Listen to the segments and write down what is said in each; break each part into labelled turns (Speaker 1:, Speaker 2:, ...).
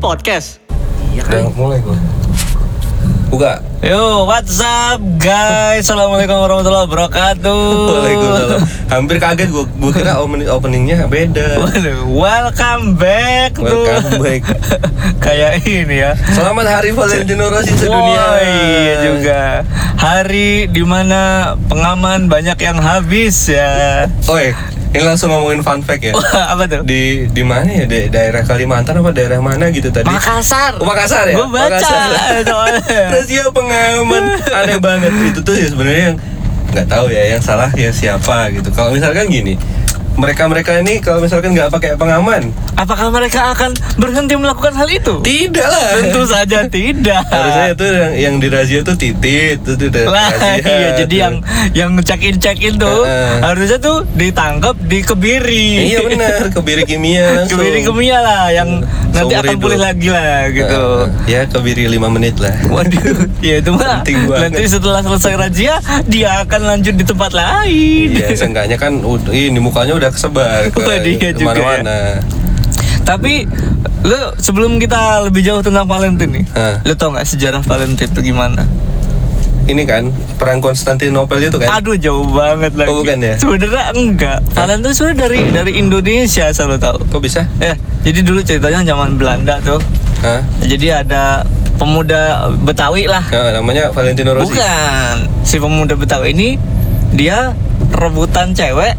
Speaker 1: podcast.
Speaker 2: Iya kan?
Speaker 3: Udah mulai gue. Buka.
Speaker 1: Yo, what's up guys? Assalamualaikum warahmatullahi wabarakatuh. Oh.
Speaker 3: Waalaikumsalam. Hampir kaget gue. Gue kira opening openingnya beda.
Speaker 1: Waduh, welcome back tuh.
Speaker 3: Welcome back.
Speaker 1: Kayak ini ya.
Speaker 3: Selamat Hari Valentino Rossi sedunia.
Speaker 1: Wah, iya juga. Hari dimana pengaman banyak yang habis ya.
Speaker 3: Oi, ini langsung ngomongin fun fact ya.
Speaker 1: Wah, apa tuh?
Speaker 3: Di di mana ya? Di daerah Kalimantan apa daerah mana gitu tadi?
Speaker 1: Makassar.
Speaker 3: Oh, Makassar ya?
Speaker 1: Gua baca soalnya.
Speaker 3: Rasio pengaman aneh banget itu tuh ya sebenarnya yang nggak tahu ya yang salah ya siapa gitu. Kalau misalkan gini, mereka-mereka ini kalau misalkan nggak pakai pengaman,
Speaker 1: Apakah mereka akan berhenti melakukan hal itu?
Speaker 3: tidak lah.
Speaker 1: Tentu saja tidak.
Speaker 3: Harusnya itu yang yang dirazia tuh titit, itu tuh
Speaker 1: lah
Speaker 3: dirazia,
Speaker 1: iya jadi
Speaker 3: tuh.
Speaker 1: yang yang check in check in tuh
Speaker 3: Heeh.
Speaker 1: harusnya tuh ditangkap di kebiri
Speaker 3: Eh, Iya benar, kebiri kimia langsung.
Speaker 1: kebiri kemia lah yang
Speaker 3: Hmm,
Speaker 1: nanti
Speaker 3: seumur
Speaker 1: akan
Speaker 3: hidup.
Speaker 1: pulih lagi lah gitu
Speaker 3: Eh, ya kebiri 5 menit lah.
Speaker 1: waduh ya itu mah
Speaker 3: Penting banget.
Speaker 1: nanti setelah selesai razia dia akan lanjut di tempat lain
Speaker 3: Iya, seenggaknya kan ud- ini mukanya udah kesebar ke
Speaker 1: Waduh, iya juga
Speaker 3: mana-mana.
Speaker 1: tapi lo sebelum kita lebih jauh tentang Valentine nih
Speaker 3: Heeh.
Speaker 1: lo tau nggak sejarah Valentine itu gimana
Speaker 3: Ini kan perang Konstantinopel itu kan.
Speaker 1: aduh jauh banget lagi
Speaker 3: Oh, bukan ya?
Speaker 1: sebenarnya enggak Valentine sebenarnya dari dari Indonesia asal lo tau
Speaker 3: Kok bisa?
Speaker 1: Eh, jadi dulu ceritanya zaman Belanda tuh.
Speaker 3: Hah?
Speaker 1: Jadi ada pemuda Betawi lah.
Speaker 3: Nah, namanya Valentino Rossi.
Speaker 1: Bukan. Si pemuda Betawi ini dia rebutan cewek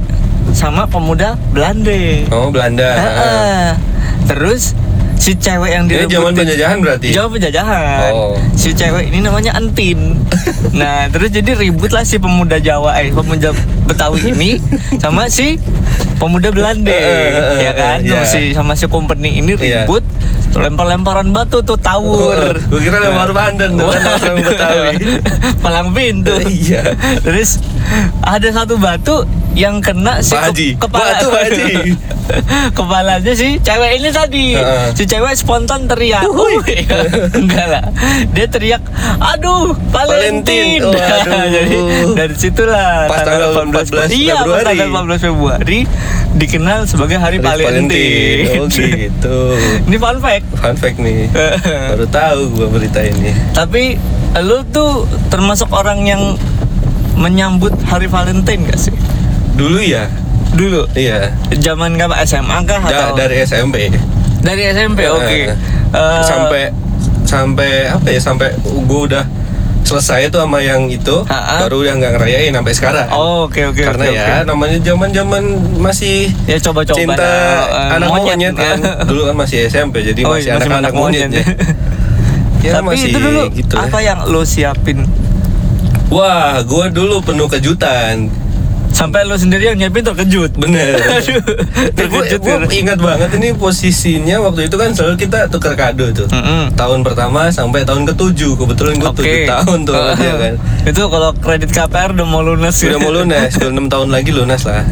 Speaker 1: sama pemuda Belanda.
Speaker 3: Oh, Belanda. Heeh.
Speaker 1: Heeh. Terus si cewek yang
Speaker 3: Ini
Speaker 1: direbutin
Speaker 3: zaman penjajahan berarti. ya?
Speaker 1: Jawab penjajahan.
Speaker 3: Oh.
Speaker 1: Si cewek ini namanya Entin. Nah, terus jadi ribut lah si pemuda Jawa, eh pemuda Betawi ini sama si pemuda Belanda,
Speaker 3: Eh,
Speaker 1: ya kan?
Speaker 3: iya.
Speaker 1: Si sama si company ini
Speaker 3: Iya.
Speaker 1: ribut, lempar-lemparan batu tuh tawur.
Speaker 3: Gue Oh, kira
Speaker 1: Nah.
Speaker 3: lempar pandan tuh kan orang
Speaker 1: Waduh.
Speaker 3: Betawi.
Speaker 1: Palang pintu.
Speaker 3: Iya.
Speaker 1: Terus ada satu batu yang kena si
Speaker 3: Pak Haji.
Speaker 1: ke- kepala
Speaker 3: Batu Pak Haji.
Speaker 1: kepalanya si cewek ini tadi.
Speaker 3: Heeh.
Speaker 1: Si cewek spontan teriak. Wuih. Enggak lah. Dia teriak, "Aduh, Valentin."
Speaker 3: Valentin. Waduh.
Speaker 1: Jadi dari situlah
Speaker 3: Pas tanggal 14
Speaker 1: Iya, pas
Speaker 3: Februari.
Speaker 1: tanggal 14 Februari dikenal sebagai Hari
Speaker 3: Hari
Speaker 1: Valentin.
Speaker 3: Oh gitu.
Speaker 1: Ini fun fact.
Speaker 3: Fun fact nih. Baru tahu gue berita ini.
Speaker 1: Tapi lu tuh termasuk orang yang menyambut Hari Valentine gak sih?
Speaker 3: Dulu ya.
Speaker 1: Dulu
Speaker 3: Iya.
Speaker 1: zaman kapan SMA kah
Speaker 3: Da-
Speaker 1: atau
Speaker 3: dari SMP.
Speaker 1: Dari SMP? Oke.
Speaker 3: Eh,
Speaker 1: Eh,
Speaker 3: sampai sampai apa ya sampai gue udah selesai tuh sama yang itu
Speaker 1: Ha-ha.
Speaker 3: baru udah nggak ngerayain sampai sekarang.
Speaker 1: oh, Oke oke.
Speaker 3: Karena
Speaker 1: oke,
Speaker 3: ya
Speaker 1: oke.
Speaker 3: namanya zaman-zaman masih
Speaker 1: ya coba-coba
Speaker 3: cinta
Speaker 1: lah, eh,
Speaker 3: anak monyet, kan dulu kan masih SMP jadi
Speaker 1: Oh,
Speaker 3: masih
Speaker 1: iya, masih
Speaker 3: anak anak
Speaker 1: anak monyet,
Speaker 3: monyet, ya. ya
Speaker 1: Tapi itu dulu apa yang lo siapin?
Speaker 3: wah gua dulu penuh kejutan
Speaker 1: Sampai lo sendiri yang nyiapin terkejut.
Speaker 3: bener
Speaker 1: Aduh,
Speaker 3: Nah, gua,
Speaker 1: terkejut
Speaker 3: gua
Speaker 1: kan?
Speaker 3: ingat banget ini posisinya waktu itu kan selalu kita tukar kado tuh
Speaker 1: Mm-mm.
Speaker 3: tahun pertama sampai tahun ketujuh kebetulan gua tujuh tahun tuh sama dia kan
Speaker 1: Itu kalau kredit KPR udah mau lunas. ya?
Speaker 3: sudah mau lunas sudah enam tahun lagi lunas lah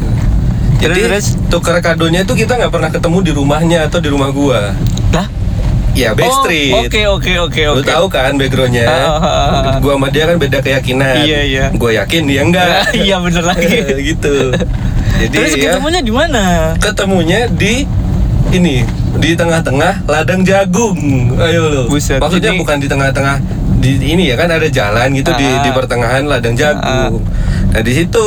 Speaker 3: jadi
Speaker 1: Terus,
Speaker 3: tukar kadonya itu kita nggak pernah ketemu di rumahnya atau di rumah gua
Speaker 1: Lah?
Speaker 3: ya Backstreet
Speaker 1: Oh, Oke oke oke
Speaker 3: Lu
Speaker 1: oke.
Speaker 3: tahu kan backgroundnya
Speaker 1: Ah, ah, ah, ah.
Speaker 3: Gua sama dia kan beda keyakinan
Speaker 1: Iya, iya.
Speaker 3: Gua yakin dia enggak
Speaker 1: Iya, bener lagi.
Speaker 3: Gitu Jadi
Speaker 1: Terus
Speaker 3: ya,
Speaker 1: ketemunya di mana?
Speaker 3: ketemunya di ini di tengah-tengah ladang jagung ayo lu
Speaker 1: Buset,
Speaker 3: maksudnya
Speaker 1: ini-
Speaker 3: bukan di tengah-tengah di ini ya kan ada jalan gitu di
Speaker 1: Ah.
Speaker 3: di pertengahan ladang jagung nah di situ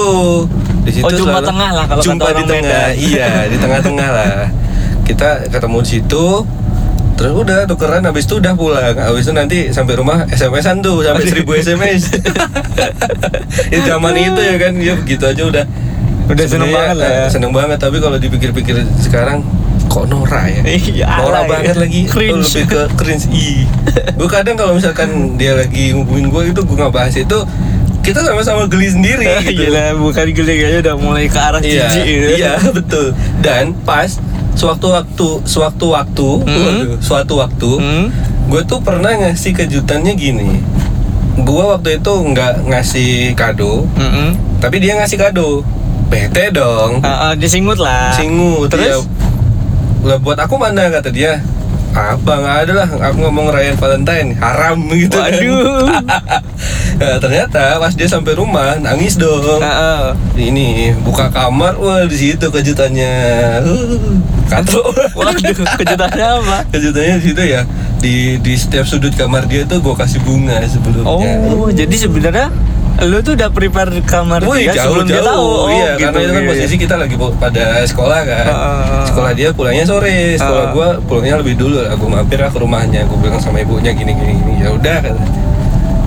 Speaker 3: di situ
Speaker 1: Oh, jumpa
Speaker 3: selalu-
Speaker 1: tengah lah kalau kata
Speaker 3: jumpa di
Speaker 1: orang
Speaker 3: tengah
Speaker 1: Medan.
Speaker 3: iya di tengah-tengah lah kita ketemu di situ terus udah tukeran habis itu udah pulang habis itu nanti sampai rumah SMS-an tuh sampai 1000 SMS ya zaman itu ya kan ya begitu aja udah
Speaker 1: Udah seneng
Speaker 3: Sebenarnya,
Speaker 1: banget lah ya.
Speaker 3: eh, seneng banget tapi kalau dipikir-pikir sekarang kok Nora ya
Speaker 1: Iya, alay.
Speaker 3: Nora banget lagi
Speaker 1: Cringe.
Speaker 3: Oh, lebih ke cringe i gue kadang kalau misalkan dia lagi ngubungin gue itu gue nggak bahas itu kita sama-sama geli sendiri gitu
Speaker 1: Gila, bukan gede kayaknya udah mulai ke arah
Speaker 3: iya
Speaker 1: jijik gitu.
Speaker 3: iya betul dan pas sewaktu-waktu sewaktu-waktu
Speaker 1: Hmm.
Speaker 3: waduh, suatu waktu
Speaker 1: Hmm?
Speaker 3: gue tuh pernah ngasih kejutannya gini gue waktu itu nggak ngasih kado
Speaker 1: Mm-mm.
Speaker 3: tapi dia ngasih kado bete dong
Speaker 1: Ah, ah, disingut lah.
Speaker 3: Singu
Speaker 1: Terus?
Speaker 3: terus lah buat aku mana kata dia apa nggak ada lah aku ngomong rayain Valentine haram gitu kan.
Speaker 1: Waduh.
Speaker 3: Nah, ternyata pas dia sampai rumah nangis dong
Speaker 1: Heeh.
Speaker 3: ini buka kamar wah di situ kejutannya Huh, katro
Speaker 1: Waduh, kejutannya apa?
Speaker 3: kejutannya di situ ya di di setiap sudut kamar dia tuh gue kasih bunga sebelumnya
Speaker 1: Oh, jadi sebenarnya lu tuh udah prepare kamar
Speaker 3: Iya. Wih,
Speaker 1: dia
Speaker 3: jauh
Speaker 1: sebelum dia
Speaker 3: jauh.
Speaker 1: tahu. Oh,
Speaker 3: iya,
Speaker 1: gitu,
Speaker 3: karena itu kan
Speaker 1: iya.
Speaker 3: posisi kita lagi po- pada sekolah kan.
Speaker 1: Ah, ah, ah.
Speaker 3: sekolah dia pulangnya sore, sekolah
Speaker 1: Ah.
Speaker 3: gua pulangnya lebih dulu. Aku mampir lah ke rumahnya, aku bilang sama ibunya gini gini gini. Ya udah kata.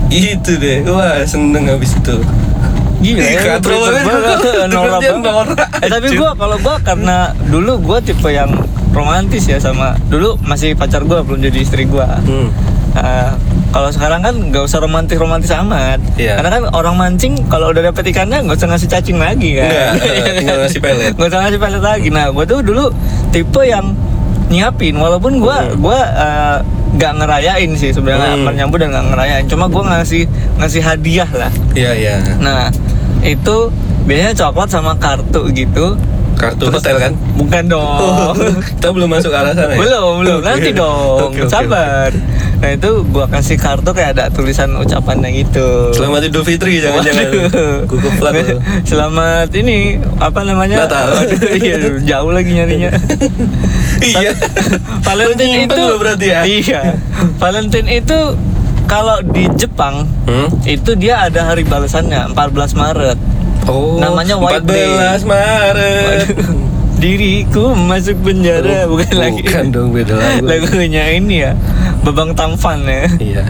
Speaker 3: Gitu deh. Wah, seneng habis itu.
Speaker 1: Gila
Speaker 3: Ih,
Speaker 1: ya,
Speaker 3: katro
Speaker 1: prepare
Speaker 3: banget.
Speaker 1: banget, norak
Speaker 3: Kerjaan
Speaker 1: banget.
Speaker 3: norak,
Speaker 1: Eh, tapi
Speaker 3: anjir.
Speaker 1: gua kalau gua karena dulu gua tipe yang romantis ya sama dulu masih pacar gua belum jadi istri gua.
Speaker 3: Hmm.
Speaker 1: Eh, kalau sekarang kan nggak usah romantis romantis amat,
Speaker 3: Iya.
Speaker 1: karena kan orang mancing kalau udah dapet ikannya nggak usah ngasih cacing lagi kan,
Speaker 3: Nggak, eh, tinggal ngasih pelet.
Speaker 1: nggak usah ngasih pelet lagi. Nah, gue tuh dulu tipe yang nyiapin, walaupun gue
Speaker 3: Hmm.
Speaker 1: gua eh, nggak ngerayain sih sebenarnya
Speaker 3: Hmm.
Speaker 1: hmm. nyambut dan nggak ngerayain, cuma gue ngasih ngasih hadiah lah.
Speaker 3: Iya, iya.
Speaker 1: Nah, itu biasanya coklat sama kartu gitu.
Speaker 3: Kartu
Speaker 1: Terus-
Speaker 3: hotel kan?
Speaker 1: Bukan dong.
Speaker 3: kita belum masuk ke arah sana ya?
Speaker 1: belum, belum.
Speaker 3: Oke.
Speaker 1: Nanti dong.
Speaker 3: Oke, oke,
Speaker 1: Sabar. Nah, itu gua kasih kartu kayak ada tulisan ucapannya gitu.
Speaker 3: oke. Selamat Idul Fitri jangan-jangan.
Speaker 1: Waduh.
Speaker 3: Gugup plat lu.
Speaker 1: Selamat ini apa namanya?
Speaker 3: Natal.
Speaker 1: Waduh, iya, jauh lagi nyarinya.
Speaker 3: Iya.
Speaker 1: Valentine
Speaker 3: Lu nyimpen
Speaker 1: itu
Speaker 3: lu berarti ya?
Speaker 1: Iya. Valentine itu kalau di Jepang
Speaker 3: Hmm?
Speaker 1: itu dia ada hari balasannya 14 Maret.
Speaker 3: Oh,
Speaker 1: Namanya White Day.
Speaker 3: 14 Maret.
Speaker 1: Diriku masuk penjara
Speaker 3: Oh,
Speaker 1: bukan lagi.
Speaker 3: Bukan dong beda lagu.
Speaker 1: Lagunya ini ya. Babang Tampan ya.
Speaker 3: Iya.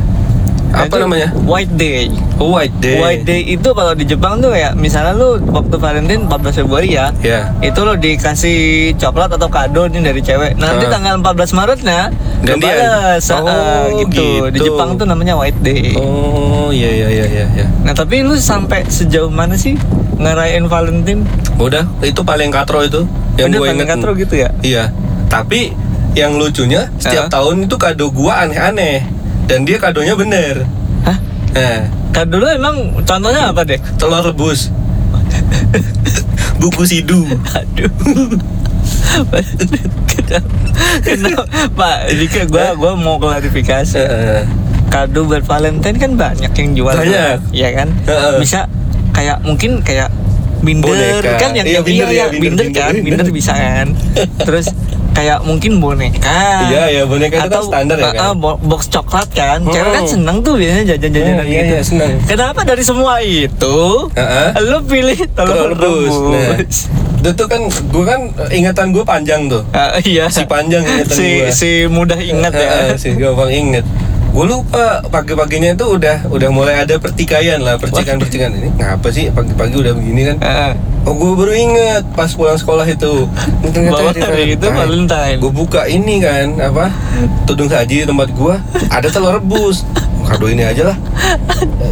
Speaker 1: Nah, itu
Speaker 3: Apa namanya?
Speaker 1: White Day.
Speaker 3: Oh, White Day.
Speaker 1: White Day itu kalau di Jepang tuh ya, misalnya lu waktu Valentine 14 Februari ya,
Speaker 3: Ya.
Speaker 1: itu lo dikasih coklat atau kado nih dari cewek. Nanti
Speaker 3: Ah.
Speaker 1: tanggal 14 Maretnya lo
Speaker 3: Gantian.
Speaker 1: balas
Speaker 3: Oh,
Speaker 1: Ah, gitu. Di
Speaker 3: gitu.
Speaker 1: Jepang tuh namanya White Day.
Speaker 3: Oh, iya iya iya iya iya.
Speaker 1: Nah, tapi lu sampai sejauh mana sih ngerayain Valentine?
Speaker 3: Udah, itu paling katro itu yang
Speaker 1: Udah
Speaker 3: gue
Speaker 1: paling
Speaker 3: inget.
Speaker 1: katro gitu ya?
Speaker 3: Iya. Tapi yang lucunya setiap
Speaker 1: Ah.
Speaker 3: tahun itu kado gua aneh-aneh dan dia kadonya bener.
Speaker 1: Hah?
Speaker 3: Nah,
Speaker 1: Kado lu emang contohnya apa deh?
Speaker 3: telur rebus. Buku sidu.
Speaker 1: Aduh. Kenapa- Kenapa? Pak, Dika, gua gua mau klarifikasi.
Speaker 3: Heeh.
Speaker 1: Kado buat Valentine kan banyak yang jual. tuh.
Speaker 3: Banyak.
Speaker 1: Iya kan?
Speaker 3: Heeh.
Speaker 1: Bisa kayak mungkin kayak binder
Speaker 3: Boneka.
Speaker 1: kan yang
Speaker 3: Iya,
Speaker 1: iya,
Speaker 3: binder ya,
Speaker 1: iya, binder,
Speaker 3: binder,
Speaker 1: kan,
Speaker 3: binder.
Speaker 1: binder bisa kan. Terus kayak mungkin boneka.
Speaker 3: Iya, iya, boneka itu kan
Speaker 1: atau
Speaker 3: standar ya,
Speaker 1: eh,
Speaker 3: kan?
Speaker 1: eh, bo- box coklat kan. Cewek kan
Speaker 3: Hmm.
Speaker 1: seneng tuh biasanya jajan-jajanan
Speaker 3: Hmm, iya,
Speaker 1: gitu.
Speaker 3: iya, seneng.
Speaker 1: Kenapa dari semua itu
Speaker 3: Heeh.
Speaker 1: lu pilih telur rebus?
Speaker 3: Nah, itu tuh kan gua kan ingatan gua panjang tuh.
Speaker 1: Ah, iya.
Speaker 3: nah. Si panjang ingatan
Speaker 1: si,
Speaker 3: gua.
Speaker 1: si mudah ingat ya.
Speaker 3: Eh, eh, sih gampang inget gue lupa pagi-paginya itu udah udah mulai ada pertikaian lah percikan-percikan ini ngapa sih pagi-pagi udah begini kan
Speaker 1: Heeh.
Speaker 3: oh gue baru inget pas pulang sekolah itu
Speaker 1: Bahwa hari itu Valentine.
Speaker 3: gue buka ini kan apa tudung saji tempat gue ada telur rebus kado ini aja lah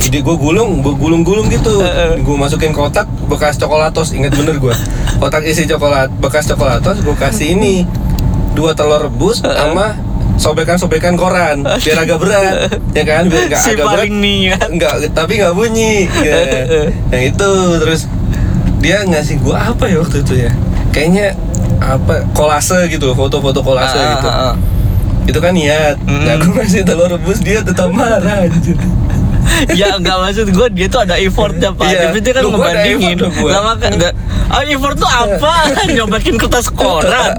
Speaker 3: jadi gue gulung gue gulung-gulung gitu
Speaker 1: Heeh.
Speaker 3: gue masukin kotak bekas coklatos inget bener gue kotak isi coklat bekas coklatos gue kasih ini dua telur rebus sama sobekan-sobekan koran biar agak berat ya kan biar nggak
Speaker 1: si
Speaker 3: agak berat
Speaker 1: paling ya. niat.
Speaker 3: Enggak, tapi nggak bunyi. Ya. Yang itu terus dia ngasih gua apa ya waktu itu ya? Kayaknya apa kolase gitu, foto-foto kolase
Speaker 1: Ah,
Speaker 3: gitu.
Speaker 1: ah, ah.
Speaker 3: Itu kan niat.
Speaker 1: Mm.
Speaker 3: Nah, gua ngasih telur rebus dia tetap marah anjir.
Speaker 1: ya nggak maksud gue dia tuh ada effortnya pak
Speaker 3: Iya.
Speaker 1: tapi dia kan
Speaker 3: Loh, gua ada
Speaker 1: ngebandingin
Speaker 3: effort dong, gua. Iya.
Speaker 1: lama kan nggak ah effort tuh apa nyobakin kertas koran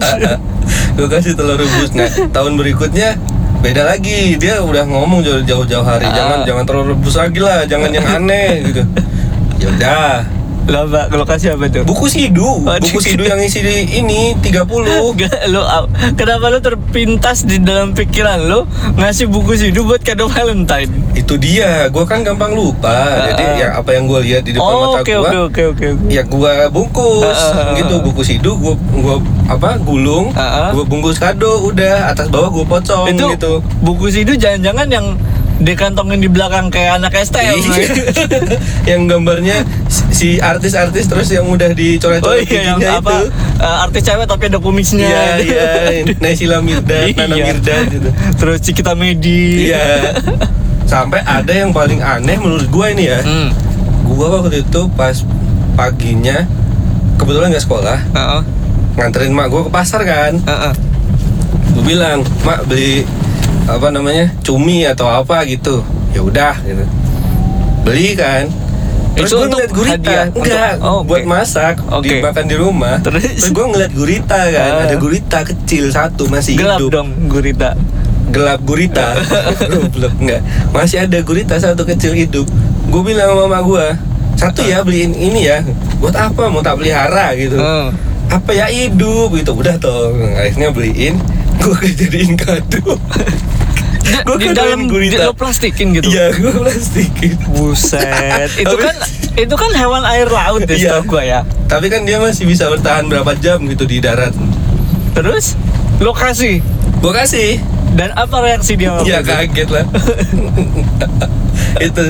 Speaker 3: gua kasih telur rebus. Nah, tahun berikutnya beda lagi dia udah ngomong jauh- jauh-jauh hari jangan
Speaker 1: Ah.
Speaker 3: jangan telur rebus lagi lah jangan yang aneh gitu ya udah
Speaker 1: lah pak kalau kasih apa tuh
Speaker 3: buku sidu
Speaker 1: Waduh.
Speaker 3: buku sidu yang isi di ini 30
Speaker 1: Gak, lo, kenapa lo terpintas di dalam pikiran lo ngasih buku sidu buat kado Valentine?
Speaker 3: itu dia gua kan gampang lupa jadi
Speaker 1: ah.
Speaker 3: ya apa yang gua lihat di depan
Speaker 1: Oh,
Speaker 3: mata
Speaker 1: oke
Speaker 3: gua
Speaker 1: oke oke oke. oke.
Speaker 3: ya gua bungkus
Speaker 1: Ah, ah, ah.
Speaker 3: gitu bungkus sidu gua gua apa gulung
Speaker 1: Ah, ah.
Speaker 3: gua bungkus kado udah atas bawah gua pocong
Speaker 1: Itu
Speaker 3: gitu
Speaker 1: buku sidu jangan-jangan yang dikantongin di belakang kayak anak STM.
Speaker 3: Iya.
Speaker 1: eh.
Speaker 3: yang gambarnya si- si artis-artis terus yang udah dicoret-coret
Speaker 1: Oh iya yang
Speaker 3: giginya
Speaker 1: apa eh, artis cewek tapi ada
Speaker 3: itu
Speaker 1: kumisnya.
Speaker 3: iya iya Naysila Mirdad Nana
Speaker 1: Iya.
Speaker 3: Mirdad gitu
Speaker 1: Terus Cikita Medi.
Speaker 3: iya sampai ada yang paling aneh menurut gua ini ya
Speaker 1: Hmm.
Speaker 3: gua waktu itu pas paginya kebetulan nggak sekolah
Speaker 1: Heeh.
Speaker 3: nganterin mak gue ke pasar kan
Speaker 1: Heeh.
Speaker 3: gue bilang mak beli apa namanya cumi atau apa gitu ya udah gitu beli kan terus
Speaker 1: Itu
Speaker 3: gue
Speaker 1: untuk
Speaker 3: ngeliat gurita
Speaker 1: hadiah?
Speaker 3: enggak
Speaker 1: Untuk- oh, oke.
Speaker 3: buat masak
Speaker 1: Oke.
Speaker 3: dimakan di rumah
Speaker 1: Terus?
Speaker 3: terus, gue ngeliat gurita kan
Speaker 1: Ah.
Speaker 3: ada gurita kecil satu masih
Speaker 1: Gelap
Speaker 3: hidup
Speaker 1: dong gurita.
Speaker 3: gelap gurita Goblok, enggak masih ada gurita satu kecil hidup gue bilang sama mama gue satu ya beliin ini ya buat apa mau tak pelihara gitu
Speaker 1: Heeh.
Speaker 3: apa ya hidup gitu udah toh akhirnya beliin gue jadiin kado
Speaker 1: Di-
Speaker 3: Gua
Speaker 1: di
Speaker 3: kan
Speaker 1: dalam
Speaker 3: main
Speaker 1: di-
Speaker 3: gurita.
Speaker 1: lo plastikin gitu.
Speaker 3: iya gue plastikin
Speaker 1: Buset. itu kan itu kan hewan air laut ya
Speaker 3: Iya.
Speaker 1: setahu gua ya.
Speaker 3: tapi kan dia masih bisa bertahan berapa jam gitu di darat
Speaker 1: Terus lokasi
Speaker 3: gue kasih
Speaker 1: dan apa reaksi dia? waktu
Speaker 3: Iya
Speaker 1: itu?
Speaker 3: kaget lah itu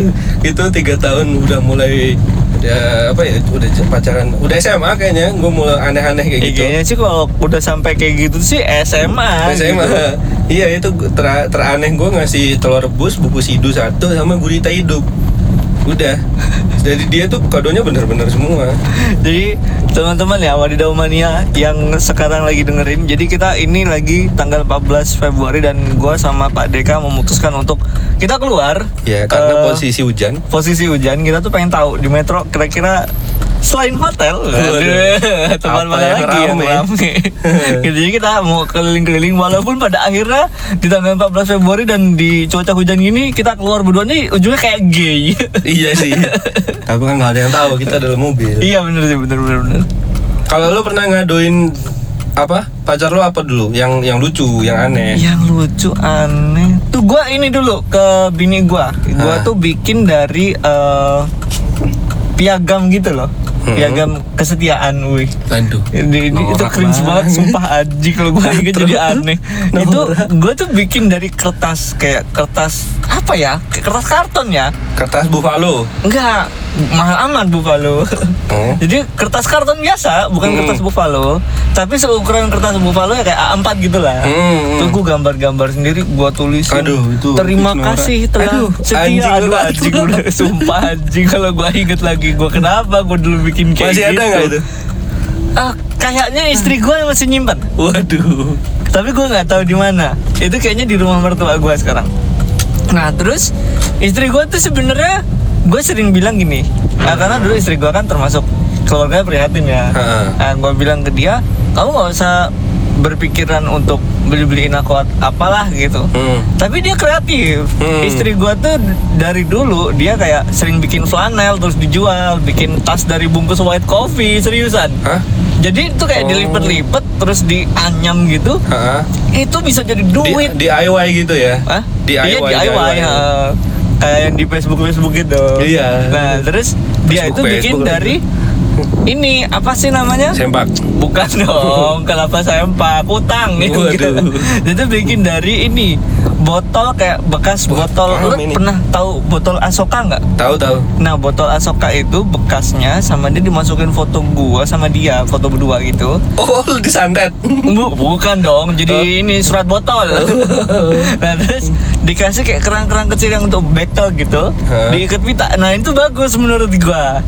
Speaker 3: itu tiga tahun udah mulai udah apa ya udah pacaran udah SMA kayaknya gue mulai aneh-aneh kayak
Speaker 1: Ya,
Speaker 3: gitu
Speaker 1: kayaknya sih kalau udah sampai kayak gitu sih SMA.
Speaker 3: SMA
Speaker 1: gitu.
Speaker 3: iya itu ter- teraneh gue ngasih telur rebus buku sidu satu sama gurita hidup udah jadi dia tuh kadonya bener-bener semua
Speaker 1: Jadi teman-teman ya Wadidau Mania yang sekarang lagi dengerin Jadi kita ini lagi tanggal 14 Februari Dan gua sama Pak Deka memutuskan untuk kita keluar
Speaker 3: ya
Speaker 1: Eh,
Speaker 3: karena posisi hujan
Speaker 1: posisi hujan Kita tuh pengen tahu di metro kira-kira selain hotel
Speaker 3: Waduh.
Speaker 1: aduh, tempat
Speaker 3: Apa
Speaker 1: mana
Speaker 3: yang
Speaker 1: lagi yang
Speaker 3: rame?
Speaker 1: rame Gitu, Jadi kita mau keliling-keliling Walaupun pada akhirnya di tanggal 14 Februari Dan di cuaca hujan gini kita keluar berdua nih ujungnya kayak gay
Speaker 3: iya sih tapi kan nggak ada yang tahu kita dalam mobil
Speaker 1: Iya bener sih bener bener, bener.
Speaker 3: kalau lu pernah ngadoin apa pacar lu apa dulu yang yang lucu yang aneh
Speaker 1: Yang lucu aneh tuh gua ini dulu ke bini gua. Gua
Speaker 3: Hah?
Speaker 1: tuh bikin dari eh, piagam gitu loh.
Speaker 3: Hmm.
Speaker 1: Piagam kesetiaan wih.
Speaker 3: aduh
Speaker 1: Ini, ini- itu
Speaker 3: Norak
Speaker 1: cringe
Speaker 3: banget.
Speaker 1: banget sumpah aji kalau gua inget jadi aneh. Itu gua tuh bikin dari kertas kayak kertas apa ya? Kayak Kertas karton ya?
Speaker 3: kertas buffalo
Speaker 1: Enggak, mahal amat Buffalo.
Speaker 3: oh.
Speaker 1: Jadi kertas karton biasa, bukan
Speaker 3: Hmm.
Speaker 1: kertas buffalo, tapi seukuran kertas buffalo ya kayak A4 gitu lah.
Speaker 3: Hmm.
Speaker 1: Tuh gue gambar-gambar sendiri, gua tulis.
Speaker 3: Aduh, itu-
Speaker 1: Terima
Speaker 3: itu norak.
Speaker 1: kasih telah
Speaker 3: Aduh,
Speaker 1: setia.
Speaker 3: anjing
Speaker 1: aduh,
Speaker 3: banget.
Speaker 1: anjing udah sumpah anjing kalau gua inget lagi gua kenapa gua dulu bikin kayak
Speaker 3: masih
Speaker 1: gitu.
Speaker 3: ada nggak itu
Speaker 1: Ah, kayaknya istri gua masih nyimpan.
Speaker 3: waduh
Speaker 1: Tapi gua nggak tahu di mana. Itu kayaknya di rumah mertua gua sekarang. Nah terus istri gua tuh sebenarnya gue sering bilang gini, ah, karena dulu istri gua kan termasuk keluarga prihatin ya.
Speaker 3: Ha.
Speaker 1: Nah, gue bilang ke dia, kamu nggak usah berpikiran untuk beli-beliin aku at- apalah gitu.
Speaker 3: Hmm.
Speaker 1: Tapi dia kreatif.
Speaker 3: Hmm.
Speaker 1: Istri gua tuh d- dari dulu dia kayak sering bikin flanel terus dijual, bikin tas dari bungkus white coffee seriusan.
Speaker 3: Hah?
Speaker 1: Jadi itu kayak
Speaker 3: Oh.
Speaker 1: dilipet-lipet terus dianyam gitu.
Speaker 3: Ha-ha.
Speaker 1: Itu bisa jadi
Speaker 3: Di,
Speaker 1: duit.
Speaker 3: DIY gitu ya?
Speaker 1: Hah? Iya,
Speaker 3: DIY.
Speaker 1: DIY. heeh. kayak yang di Facebook Facebook gitu.
Speaker 3: Iya.
Speaker 1: Nah, terus dia itu
Speaker 3: Facebook,
Speaker 1: bikin
Speaker 3: Facebook. gitu.
Speaker 1: dari ini apa sih namanya?
Speaker 3: Sempak.
Speaker 1: Bukan dong, kelapa sempak, utang gitu.
Speaker 3: Waduh.
Speaker 1: Jadi bikin dari ini botol kayak bekas botol.
Speaker 3: paham
Speaker 1: Lu
Speaker 3: ini.
Speaker 1: pernah tahu botol Asoka nggak?
Speaker 3: Tahu tahu.
Speaker 1: Nah, botol Asoka itu bekasnya sama dia dimasukin foto gua sama dia, foto berdua gitu.
Speaker 3: Oh, lu disantet.
Speaker 1: Bu- bukan dong, jadi ini surat botol. nah terus dikasih kayak kerang-kerang kecil yang untuk battle gitu,
Speaker 3: Hah?
Speaker 1: diikat pita. Nah itu bagus menurut gua.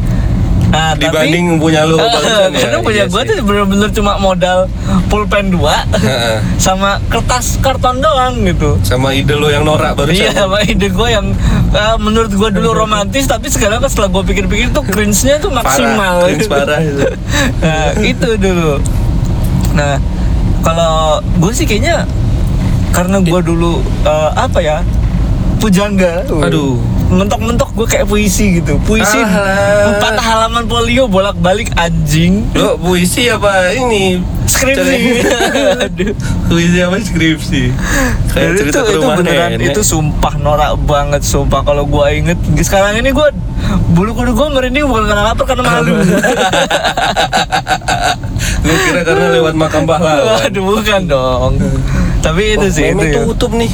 Speaker 1: Nah,
Speaker 3: Dibanding punya lu bagusan ya.
Speaker 1: karena punya
Speaker 3: Iya
Speaker 1: gua
Speaker 3: sih.
Speaker 1: tuh bener-bener cuma modal pulpen dua
Speaker 3: Heeh.
Speaker 1: sama kertas karton doang gitu.
Speaker 3: Sama ide lu yang norak barusan.
Speaker 1: Iya, sama ide gue yang eh, menurut gua dulu romantis, tapi sekarang setelah gua pikir-pikir tuh cringe-nya tuh maksimal.
Speaker 3: Parah, cringe parah itu.
Speaker 1: nah itu dulu nah kalau gue sih kayaknya karena gue
Speaker 3: Iya.
Speaker 1: dulu eh, apa ya pujangga
Speaker 3: Aduh.
Speaker 1: mentok-mentok gue kayak puisi gitu puisi
Speaker 3: Alah.
Speaker 1: empat halaman polio bolak-balik anjing
Speaker 3: Lu puisi apa ini?
Speaker 1: skripsi
Speaker 3: Cara-
Speaker 1: Aduh.
Speaker 3: puisi apa skripsi? Kayak
Speaker 1: Dan
Speaker 3: cerita
Speaker 1: itu,
Speaker 3: ke eh.
Speaker 1: itu
Speaker 3: rumah
Speaker 1: beneran
Speaker 3: nenek.
Speaker 1: itu sumpah norak banget sumpah kalau gue inget sekarang ini gue bulu kuduk gue merinding bukan karena lapar karena malu
Speaker 3: Gua kira karena lewat makam pahlawan.
Speaker 1: Waduh bukan dong tapi itu
Speaker 3: Wah,
Speaker 1: sih itu
Speaker 3: Memet
Speaker 1: ya.
Speaker 3: tutup nih.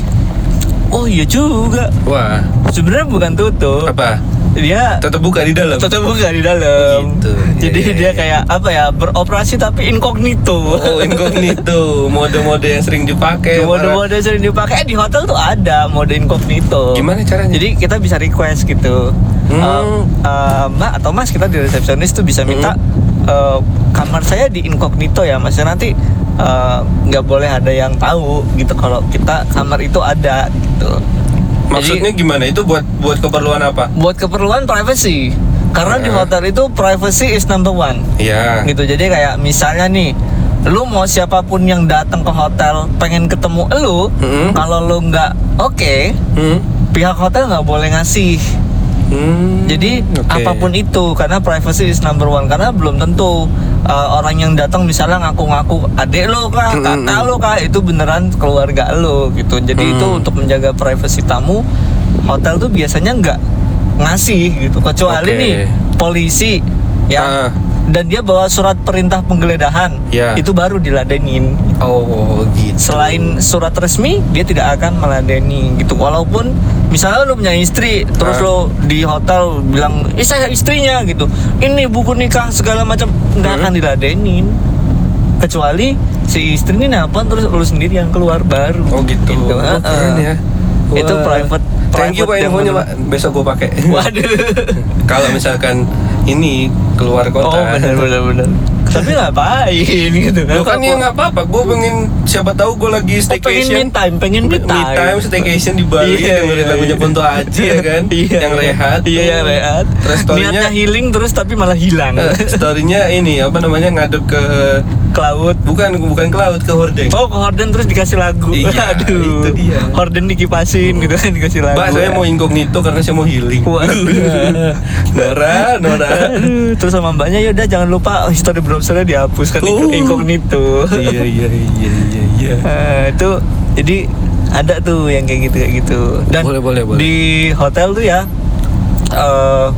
Speaker 1: Oh iya juga.
Speaker 3: Wah,
Speaker 1: Sebenarnya bukan tutup.
Speaker 3: apa?
Speaker 1: Dia
Speaker 3: Tetap buka di dalam.
Speaker 1: tetap buka di dalam.
Speaker 3: Gitu.
Speaker 1: Jadi
Speaker 3: Iya, iya,
Speaker 1: dia
Speaker 3: iya.
Speaker 1: kayak apa ya beroperasi tapi incognito.
Speaker 3: Oh, incognito, mode-mode yang sering dipakai. parah.
Speaker 1: Mode-mode sering dipakai di hotel tuh ada mode incognito.
Speaker 3: Gimana caranya?
Speaker 1: Jadi kita bisa request gitu.
Speaker 3: Hmm.
Speaker 1: Em, em, Mbak atau
Speaker 3: Hmm.
Speaker 1: Mas kita di resepsionis tuh bisa minta em, kamar saya di incognito ya Mas. Ya, Nanti eh, nggak boleh ada yang tahu gitu kalau kita kamar itu ada gitu
Speaker 3: Maksudnya gimana itu buat buat keperluan apa?
Speaker 1: buat keperluan privacy karena di
Speaker 3: Eh.
Speaker 1: hotel itu privacy is number one
Speaker 3: Iya.
Speaker 1: gitu jadi kayak misalnya nih lu mau siapapun yang datang ke hotel pengen ketemu elu
Speaker 3: Mm-mm.
Speaker 1: kalau lu nggak oke
Speaker 3: Hmm.
Speaker 1: pihak hotel nggak boleh ngasih
Speaker 3: Hmm,
Speaker 1: jadi
Speaker 3: oke.
Speaker 1: apapun itu karena privacy is number one karena belum tentu uh, orang yang datang misalnya ngaku-ngaku adik lo kah
Speaker 3: Mm, mm,
Speaker 1: kakak
Speaker 3: mm.
Speaker 1: lo kah itu beneran keluarga lo gitu jadi itu
Speaker 3: Hmm.
Speaker 1: untuk menjaga privacy tamu hotel tuh biasanya nggak ngasih gitu kecuali
Speaker 3: Oke.
Speaker 1: nih polisi ya
Speaker 3: Ah.
Speaker 1: dan dia bawa surat perintah penggeledahan
Speaker 3: Ya.
Speaker 1: itu baru diladenin
Speaker 3: Oh gitu.
Speaker 1: selain surat resmi dia tidak akan meladeni gitu walaupun misalnya lu punya istri terus
Speaker 3: Ah.
Speaker 1: lo di hotel bilang eh saya istrinya gitu ini buku nikah segala macam nggak
Speaker 3: Hmm.
Speaker 1: akan diladenin kecuali si istri ini nelpon terus lu sendiri yang keluar baru
Speaker 3: Oh gitu. Oh,
Speaker 1: Heeh.
Speaker 3: keren ya.
Speaker 1: itu
Speaker 3: Wah.
Speaker 1: private
Speaker 3: Thank
Speaker 1: private
Speaker 3: you pak
Speaker 1: yang
Speaker 3: infonya pak.
Speaker 1: menurut-
Speaker 3: Besok gue pakai.
Speaker 1: waduh
Speaker 3: Kalau misalkan ini keluar kota.
Speaker 1: oh benar benar benar tapi ngapain gitu kan
Speaker 3: Bukan ya nggak apa-apa. Gue pengen siapa tahu gue lagi
Speaker 1: Oh, pengen me
Speaker 3: staycation.
Speaker 1: time pengen me
Speaker 3: Me
Speaker 1: time
Speaker 3: time staycation di Bali
Speaker 1: Iya,
Speaker 3: dengerin
Speaker 1: iya,
Speaker 3: lagunya
Speaker 1: iya.
Speaker 3: Ponto Aji ya kan
Speaker 1: Iya.
Speaker 3: yang rehat
Speaker 1: Iya, yang rehat.
Speaker 3: terus storynya
Speaker 1: Niatnya healing terus tapi malah hilang.
Speaker 3: eh, storynya ini apa namanya ngadep ke
Speaker 1: ke laut.
Speaker 3: bukan bukan ke laut ke hordeng
Speaker 1: Oh, ke Horden terus dikasih lagu.
Speaker 3: Iya,
Speaker 1: Aduh.
Speaker 3: itu dia.
Speaker 1: Horden dikipasin gitu kan dikasih lagu.
Speaker 3: Mbak saya mau incognito karena saya mau healing
Speaker 1: Waduh.
Speaker 3: Nora Nora
Speaker 1: Aduh, terus sama mbaknya yaudah jangan lupa history browsernya dihapus kan
Speaker 3: Oh.
Speaker 1: incognito.
Speaker 3: iya iya iya iya iya
Speaker 1: Eh, itu jadi ada tuh yang kayak gitu kayak gitu dan
Speaker 3: Boleh, boleh, boleh.
Speaker 1: di hotel tuh ya eh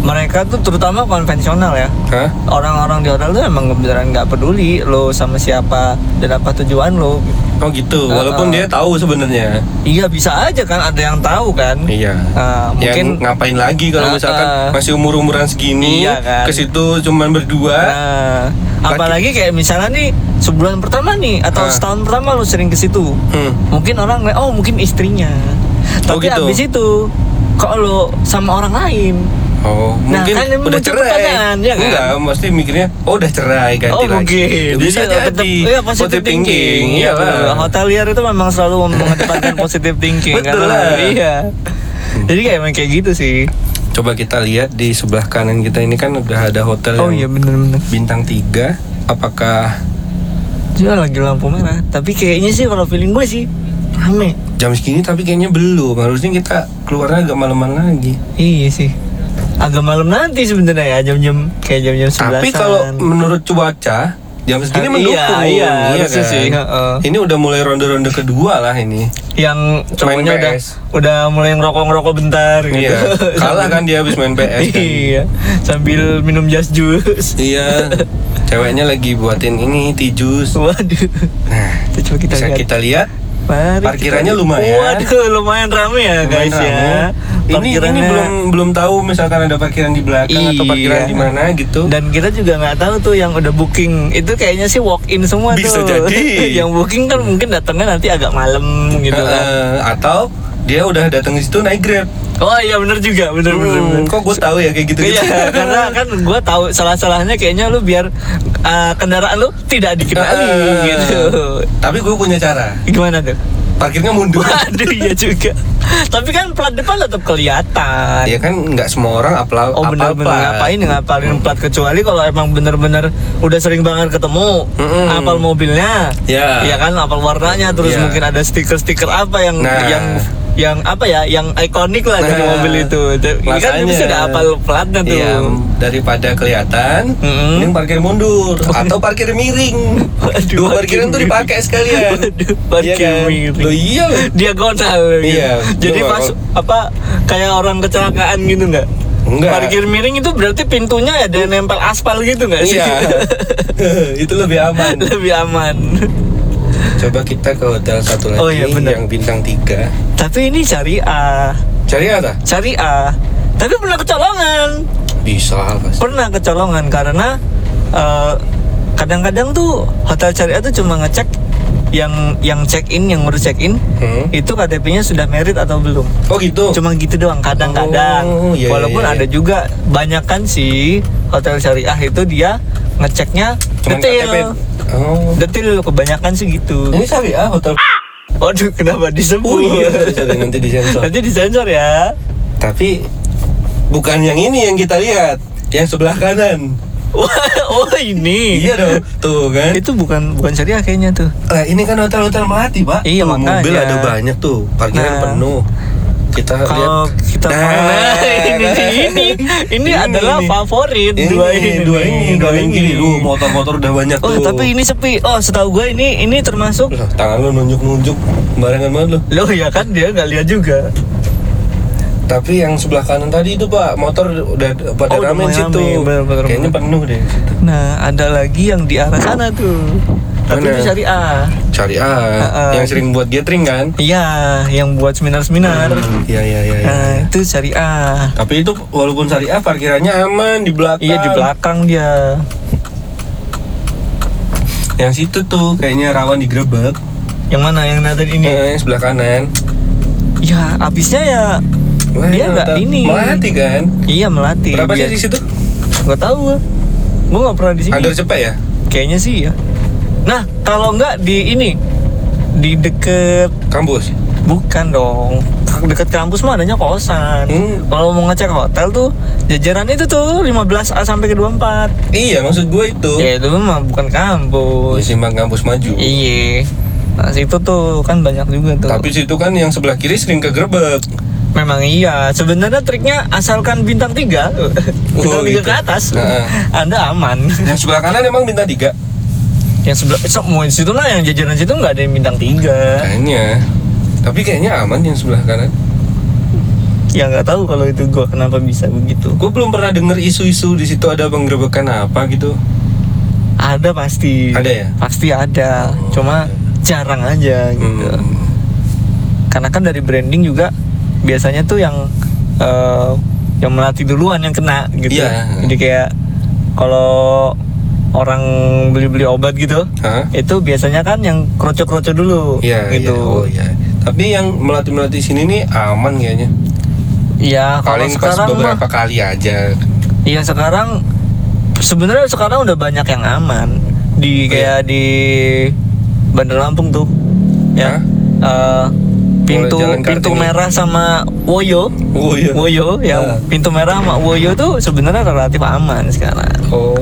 Speaker 1: mereka tuh terutama konvensional ya
Speaker 3: Hah?
Speaker 1: orang-orang di hotel tuh emang beneran nggak peduli lo sama siapa dan apa tujuan lo
Speaker 3: Oh gitu, walaupun
Speaker 1: Uh-uh.
Speaker 3: dia tahu sebenarnya.
Speaker 1: iya bisa aja kan ada yang tahu kan
Speaker 3: Iya.
Speaker 1: Ah,
Speaker 3: Yang
Speaker 1: mungkin
Speaker 3: ngapain lagi kalau
Speaker 1: Uh-uh.
Speaker 3: misalkan masih umur-umuran segini
Speaker 1: Iya kan.
Speaker 3: ke situ cuman berdua.
Speaker 1: Nah, apalagi kayak misalnya nih sebulan pertama nih atau
Speaker 3: Ah.
Speaker 1: setahun pertama lo sering ke situ
Speaker 3: Hmm.
Speaker 1: mungkin orang ngeliat, oh mungkin istrinya
Speaker 3: Oh,
Speaker 1: tapi
Speaker 3: gitu.
Speaker 1: abis itu kok lo sama orang lain
Speaker 3: Oh,
Speaker 1: Nah,
Speaker 3: mungkin
Speaker 1: kan dia
Speaker 3: udah
Speaker 1: muncul
Speaker 3: cerai.
Speaker 1: pertanyaan, ya kan?
Speaker 3: Enggak, mesti mikirnya oh udah cerai ganti
Speaker 1: oh
Speaker 3: lagi. Ya,
Speaker 1: mungkin
Speaker 3: Bisa
Speaker 1: jadi tetap
Speaker 3: jadi.
Speaker 1: iya positif thinking
Speaker 3: Iya lah.
Speaker 1: hotelier itu memang selalu mengedepankan positif thinking
Speaker 3: Betul ah.
Speaker 1: karena-
Speaker 3: lah.
Speaker 1: iya jadi kayak emang kayak gitu sih
Speaker 3: Coba kita lihat di sebelah kanan kita ini kan udah ada hotel
Speaker 1: oh iya
Speaker 3: yang
Speaker 1: bener-bener
Speaker 3: bintang 3. Apakah
Speaker 1: dia lagi lampu merah tapi kayaknya sih kalau feeling gue sih rame
Speaker 3: jam segini tapi kayaknya belum. Harusnya kita keluarnya agak malaman lagi.
Speaker 1: iya sih agak malam nanti sebenarnya ya jam-jam kayak jam-jam sebelasan
Speaker 3: Tapi kalau menurut cuaca jam
Speaker 1: Iya,
Speaker 3: segini mendukung.
Speaker 1: iya, harusnya
Speaker 3: kan?
Speaker 1: sih, heeh.
Speaker 3: Ini udah mulai ronde-ronde kedua lah ini.
Speaker 1: yang cowoknya
Speaker 3: Main
Speaker 1: udah
Speaker 3: PS.
Speaker 1: udah mulai ngerokok-ngerokok bentar gitu.
Speaker 3: Iya. Kalah kan dia habis main PS. kan?
Speaker 1: iya, sambil minum jas jus.
Speaker 3: iya. Ceweknya lagi buatin ini tijus.
Speaker 1: Waduh.
Speaker 3: Nah,
Speaker 1: Itu coba kita
Speaker 3: bisa
Speaker 1: lihat.
Speaker 3: kita lihat.
Speaker 1: Mari
Speaker 3: Parkirannya
Speaker 1: kita-
Speaker 3: lumayan.
Speaker 1: Waduh, lumayan rame ya
Speaker 3: Lumayan
Speaker 1: guys
Speaker 3: rame.
Speaker 1: ya.
Speaker 3: Ini ini
Speaker 1: Parkirannya-
Speaker 3: belum belum tahu misalkan ada parkiran di belakang atau parkiran
Speaker 1: Iya.
Speaker 3: di mana gitu.
Speaker 1: dan kita juga nggak tahu tuh yang udah booking itu kayaknya sih walk in semua tuh.
Speaker 3: Bisa jadi.
Speaker 1: yang booking kan mungkin datangnya nanti agak malam gitu kan.
Speaker 3: Eh, atau dia udah datang di situ naik Grab.
Speaker 1: Oh iya bener juga, bener bener.
Speaker 3: Hmm,
Speaker 1: bener.
Speaker 3: kok gue tahu ya kayak gitu gitu.
Speaker 1: Iya, karena kan gue tahu salah-salahnya kayaknya lu biar uh, kendaraan lu tidak dikenali
Speaker 3: Eh,
Speaker 1: gitu.
Speaker 3: Tapi gue punya cara.
Speaker 1: Gimana tuh?
Speaker 3: Parkirnya mundur.
Speaker 1: Aduh iya juga. Tapi kan plat depan tetap kelihatan.
Speaker 3: Ya kan nggak semua orang apla
Speaker 1: Oh bener-bener
Speaker 3: apal-apal.
Speaker 1: ngapain ngapalin plat kecuali kalau emang bener-bener udah sering banget ketemu
Speaker 3: Mm-mm.
Speaker 1: apal mobilnya
Speaker 3: Ya.
Speaker 1: ya kan apal warnanya terus
Speaker 3: Ya.
Speaker 1: mungkin ada stiker-stiker apa yang
Speaker 3: Nah.
Speaker 1: yang yang apa ya yang ikonik lah dari
Speaker 3: Nah,
Speaker 1: mobil itu kan
Speaker 3: makanya.
Speaker 1: bisa ada apal platnya tuh
Speaker 3: Iya, daripada kelihatan,
Speaker 1: Mm-mm.
Speaker 3: mending parkir mundur atau parkir miring.
Speaker 1: Oh. Waduh,
Speaker 3: Dua
Speaker 1: parkir
Speaker 3: parkiran tuh
Speaker 1: miring.
Speaker 3: dipakai sekalian.
Speaker 1: Waduh, parkir
Speaker 3: Iya kan?
Speaker 1: miring.
Speaker 3: Loh, iya. loh.
Speaker 1: diagonal gitu.
Speaker 3: Iya,
Speaker 1: jadi
Speaker 3: coba
Speaker 1: pas
Speaker 3: kalau-
Speaker 1: apa kayak orang kecelakaan gitu nggak
Speaker 3: Nggak.
Speaker 1: parkir miring itu berarti pintunya ada yang nempel aspal gitu nggak sih
Speaker 3: Iya. Itu lebih aman.
Speaker 1: lebih aman
Speaker 3: Coba kita ke hotel satu lagi
Speaker 1: Oh, iya, benar.
Speaker 3: yang bintang 3.
Speaker 1: tapi ini
Speaker 3: ah,
Speaker 1: syariah
Speaker 3: Cari apa?
Speaker 1: syariah tapi pernah kecolongan
Speaker 3: Bisa pasti.
Speaker 1: pernah kecolongan karena eh, kadang-kadang tuh hotel syariah tuh cuma ngecek yang yang check in yang ngurus check in
Speaker 3: Hmm.
Speaker 1: itu KTP-nya sudah merit atau belum
Speaker 3: Oh gitu.
Speaker 1: cuma gitu doang kadang-kadang
Speaker 3: Oh, iya, iya,
Speaker 1: walaupun
Speaker 3: iya.
Speaker 1: ada juga banyak kan sih hotel syariah itu dia ngeceknya
Speaker 3: Cuman KTP.
Speaker 1: detail
Speaker 3: Oh.
Speaker 1: detail kebanyakan sih gitu
Speaker 3: Ini sorry ah hotel.
Speaker 1: waduh kenapa disebut
Speaker 3: Oh iya, sorry, nanti disensor.
Speaker 1: nanti disensor ya
Speaker 3: Tapi bukan yang ini yang kita lihat, yang sebelah kanan.
Speaker 1: Wah, oh ini
Speaker 3: Iya dong, tuh kan.
Speaker 1: itu bukan bukan syariah kayaknya tuh
Speaker 3: Lah, ini kan hotel-hotel melati pak.
Speaker 1: Iya,
Speaker 3: Tuh,
Speaker 1: makanya.
Speaker 3: Mobil ada banyak tuh, parkiran
Speaker 1: Nah.
Speaker 3: penuh. ya, Kita lihat.
Speaker 1: kalau kita nah, ini, ini ini adalah favorit
Speaker 3: Ini,
Speaker 1: dua ini
Speaker 3: dua ini, dua ini. Uh, motor-motor udah banyak
Speaker 1: oh
Speaker 3: tuh.
Speaker 1: tapi ini sepi oh setahu gue ini ini termasuk
Speaker 3: Loh, tangan lu nunjuk-nunjuk barengan banget lu.
Speaker 1: loh ya kan dia nggak lihat juga
Speaker 3: Tapi yang sebelah kanan tadi itu pak, motor udah
Speaker 1: Oh,
Speaker 3: pada
Speaker 1: udah
Speaker 3: rame
Speaker 1: mulai
Speaker 3: situ.
Speaker 1: rame, bener, bener,
Speaker 3: Kayaknya penuh deh. situ.
Speaker 1: nah ada lagi yang di arah sana tuh tapi
Speaker 3: Mana?
Speaker 1: itu syariah
Speaker 3: Cari ah,
Speaker 1: Heeh.
Speaker 3: yang sering buat gathering kan?
Speaker 1: iya yang buat seminar seminar
Speaker 3: Iya iya iya. iya.
Speaker 1: nah itu syariah
Speaker 3: Tapi itu walaupun syariah parkirannya aman di belakang.
Speaker 1: iya di belakang dia
Speaker 3: Yang situ tuh kayaknya rawan digerebek.
Speaker 1: yang mana yang tadi ini
Speaker 3: Eh, yang sebelah kanan.
Speaker 1: ya abisnya ya
Speaker 3: Wah,
Speaker 1: Dia nggak
Speaker 3: hotel
Speaker 1: ini.
Speaker 3: Melati kan?
Speaker 1: iya melatih
Speaker 3: Berapa sih
Speaker 1: Dia-
Speaker 3: di situ?
Speaker 1: Gak tau gue Gue gak pernah di sini
Speaker 3: Under cepet ya?
Speaker 1: Kayaknya sih ya Nah kalau nggak di ini Di deket
Speaker 3: Kampus.
Speaker 1: Bukan dong Deket kampus mah adanya kosan
Speaker 3: Hmm.
Speaker 1: Kalau mau ngecek hotel tuh Jajaran itu tuh 15A sampai ke 24
Speaker 3: Iya, maksud gue itu.
Speaker 1: Ya itu mah bukan
Speaker 3: Ya,
Speaker 1: kampus
Speaker 3: Simpang kampus maju.
Speaker 1: Iya Nah situ tuh kan banyak juga tuh
Speaker 3: Tapi situ kan yang sebelah kiri sering kegerebek.
Speaker 1: Memang iya Sebenarnya triknya asalkan bintang 3 Bintang 3
Speaker 3: gitu.
Speaker 1: ke atas
Speaker 3: Heeh.
Speaker 1: Anda aman
Speaker 3: Yang sebelah kanan emang bintang tiga.
Speaker 1: yang sebelah semua di situ lah yang jajaran situ nggak ada yang bintang tiga
Speaker 3: Kayaknya. Tapi kayaknya aman yang sebelah kanan.
Speaker 1: ya nggak tahu kalau itu gua kenapa bisa begitu
Speaker 3: Gue belum pernah denger isu-isu di situ ada penggerebekan apa gitu.
Speaker 1: ada pasti
Speaker 3: Ada ya? Oh, iya.
Speaker 1: pasti ada cuma jarang aja gitu
Speaker 3: Hmm.
Speaker 1: karena kan dari branding juga biasanya tuh yang eh, yang melatih duluan yang kena gitu
Speaker 3: Iya.
Speaker 1: jadi kayak kalau orang beli-beli obat gitu
Speaker 3: Hah?
Speaker 1: itu biasanya kan yang kroco-kroco dulu
Speaker 3: Iya,
Speaker 1: gitu
Speaker 3: iya. Oh, iya. Tapi yang melatih melatih sini nih aman kayaknya.
Speaker 1: Iya, kalau
Speaker 3: Paling pas
Speaker 1: sekarang mah-
Speaker 3: beberapa kali aja.
Speaker 1: Iya sekarang sebenarnya sekarang udah banyak yang aman di
Speaker 3: Oh,
Speaker 1: kayak di Bandar Lampung tuh ya
Speaker 3: Hah?
Speaker 1: Eh, pintu
Speaker 3: Mulai jalan
Speaker 1: pintu
Speaker 3: Kartini.
Speaker 1: merah sama Woyo
Speaker 3: Oh iya.
Speaker 1: Woyo yang
Speaker 3: Ah.
Speaker 1: pintu merah sama Woyo tuh sebenarnya relatif aman sekarang
Speaker 3: Oh.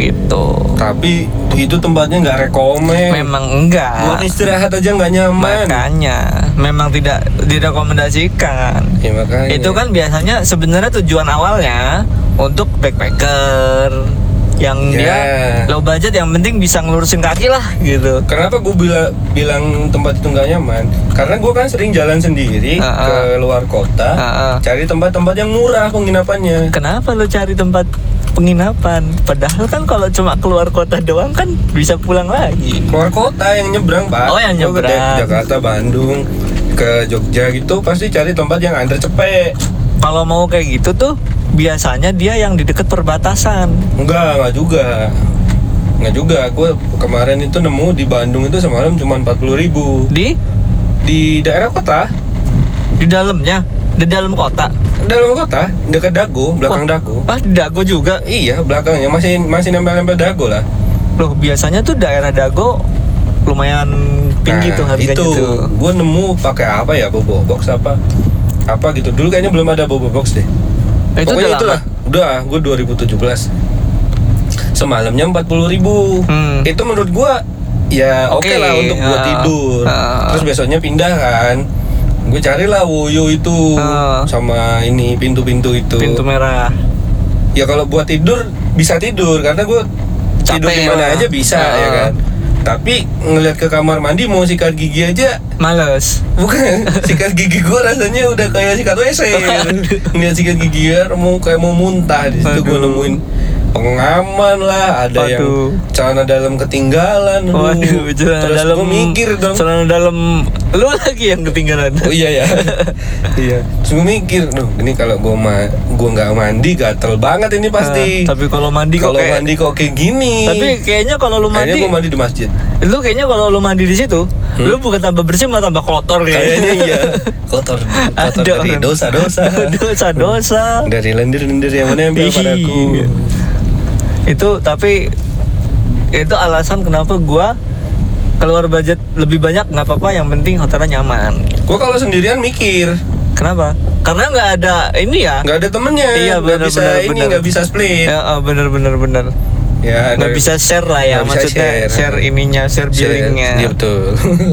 Speaker 1: gitu
Speaker 3: Tapi itu tempatnya nggak rekomen.
Speaker 1: memang
Speaker 3: Iya.
Speaker 1: enggak
Speaker 3: Buat istirahat aja nggak nyaman.
Speaker 1: makanya memang tidak direkomendasikan
Speaker 3: Ya, makanya.
Speaker 1: Itu kan biasanya sebenarnya tujuan awalnya untuk backpacker yang
Speaker 3: Ya.
Speaker 1: dia low budget yang penting bisa ngelurusin kaki lah gitu.
Speaker 3: Kenapa gue bila, bilang tempat itu nggak nyaman? Karena gue kan sering jalan sendiri
Speaker 1: Ah, ah.
Speaker 3: ke luar kota,
Speaker 1: Ah, ah.
Speaker 3: cari tempat-tempat yang murah penginapannya.
Speaker 1: Kenapa lo cari tempat penginapan? Padahal kan kalau cuma keluar kota doang kan bisa pulang lagi.
Speaker 3: Keluar kota yang nyebrang
Speaker 1: Iya.
Speaker 3: pak.
Speaker 1: Oh, yang
Speaker 3: Gua ke
Speaker 1: nyebrang.
Speaker 3: Jakarta, Bandung, ke Jogja gitu pasti cari tempat yang antar cepet.
Speaker 1: Kalau mau kayak gitu tuh biasanya dia yang di deket perbatasan.
Speaker 3: Enggak, enggak juga. Enggak juga. Gue kemarin itu nemu di Bandung itu semalam cuma 40.000 ribu.
Speaker 1: Di
Speaker 3: Di daerah kota,
Speaker 1: di dalamnya, di dalam kota.
Speaker 3: dalam kota, dekat Dago, belakang
Speaker 1: Wah.
Speaker 3: Dago.
Speaker 1: Ah, di Dago juga.
Speaker 3: Iya, belakangnya masih masih nempel-nempel Dago lah.
Speaker 1: Loh, biasanya tuh daerah Dago lumayan tinggi
Speaker 3: Nah,
Speaker 1: tuh harganya
Speaker 3: itu.
Speaker 1: tuh.
Speaker 3: Gue nemu pakai apa ya, bobo box apa? Apa gitu. Dulu kayaknya belum ada bobo box deh.
Speaker 1: Eh, itu udah
Speaker 3: Pokoknya
Speaker 1: lama.
Speaker 3: itulah. Udah, gue 2017. Semalamnya 40.000 ribu.
Speaker 1: Hmm.
Speaker 3: Itu menurut gue ya oke
Speaker 1: Oke,
Speaker 3: lah untuk buat
Speaker 1: ah,
Speaker 3: tidur.
Speaker 1: ah.
Speaker 3: Terus besoknya pindah kan. Gue carilah Woyo itu
Speaker 1: Ah.
Speaker 3: sama ini pintu-pintu itu.
Speaker 1: Pintu merah.
Speaker 3: Ya kalau buat tidur bisa tidur karena gue tidur
Speaker 1: Capek
Speaker 3: di mana
Speaker 1: ya.
Speaker 3: aja bisa ya
Speaker 1: Ah.
Speaker 3: kan. Tapi ngeliat ke kamar mandi mau sikat gigi aja
Speaker 1: Males.
Speaker 3: Bukan, sikat gigi gue rasanya udah kayak sikat WC
Speaker 1: Aduh.
Speaker 3: Ngeliat sikat gigi gue mau kayak mau muntah di situ gue
Speaker 1: Aduh.
Speaker 3: nemuin pengaman lah ada yang
Speaker 1: Waduh.
Speaker 3: celana dalam ketinggalan aduh.
Speaker 1: Waduh, celana
Speaker 3: terus
Speaker 1: dalam.
Speaker 3: gue mikir dong
Speaker 1: Celana dalam lu lagi yang ketinggalan.
Speaker 3: oh iya ya iya terus gue mikir duh ini kalau gue ma gue nggak mandi gatel banget ini
Speaker 1: Eh,
Speaker 3: pasti
Speaker 1: tapi kalau mandi kok
Speaker 3: kalau
Speaker 1: kayak-
Speaker 3: mandi kok kayak gini
Speaker 1: Tapi kayaknya kalau lu
Speaker 3: akhirnya
Speaker 1: mandi,
Speaker 3: gue mandi di masjid
Speaker 1: lu kayaknya kalau lu mandi di situ, lu bukan tambah bersih malah tambah kotor
Speaker 3: kayaknya
Speaker 1: kayaknya.
Speaker 3: iya kotor kotor
Speaker 1: Ada
Speaker 3: dari
Speaker 1: orang.
Speaker 3: dosa-dosa
Speaker 1: Dosa-dosa. iya.
Speaker 3: dari lendir-lendir yang menempel
Speaker 1: Ih.
Speaker 3: padaku
Speaker 1: Itu tapi itu alasan kenapa gua keluar budget lebih banyak nggak apa-apa yang penting hotelnya nyaman
Speaker 3: Gua kalau sendirian mikir,
Speaker 1: kenapa karena nggak ada ini ya
Speaker 3: nggak ada temennya,
Speaker 1: Iya,
Speaker 3: nggak
Speaker 1: benar,
Speaker 3: bisa
Speaker 1: benar,
Speaker 3: ini,
Speaker 1: benar.
Speaker 3: nggak bisa split.
Speaker 1: ya eh, bener bener bener
Speaker 3: Ya,
Speaker 1: nggak
Speaker 3: ada-
Speaker 1: bisa share lah ya
Speaker 3: nggak bisa
Speaker 1: maksudnya
Speaker 3: share.
Speaker 1: share, ininya share
Speaker 3: Share.
Speaker 1: billingnya
Speaker 3: Iya betul.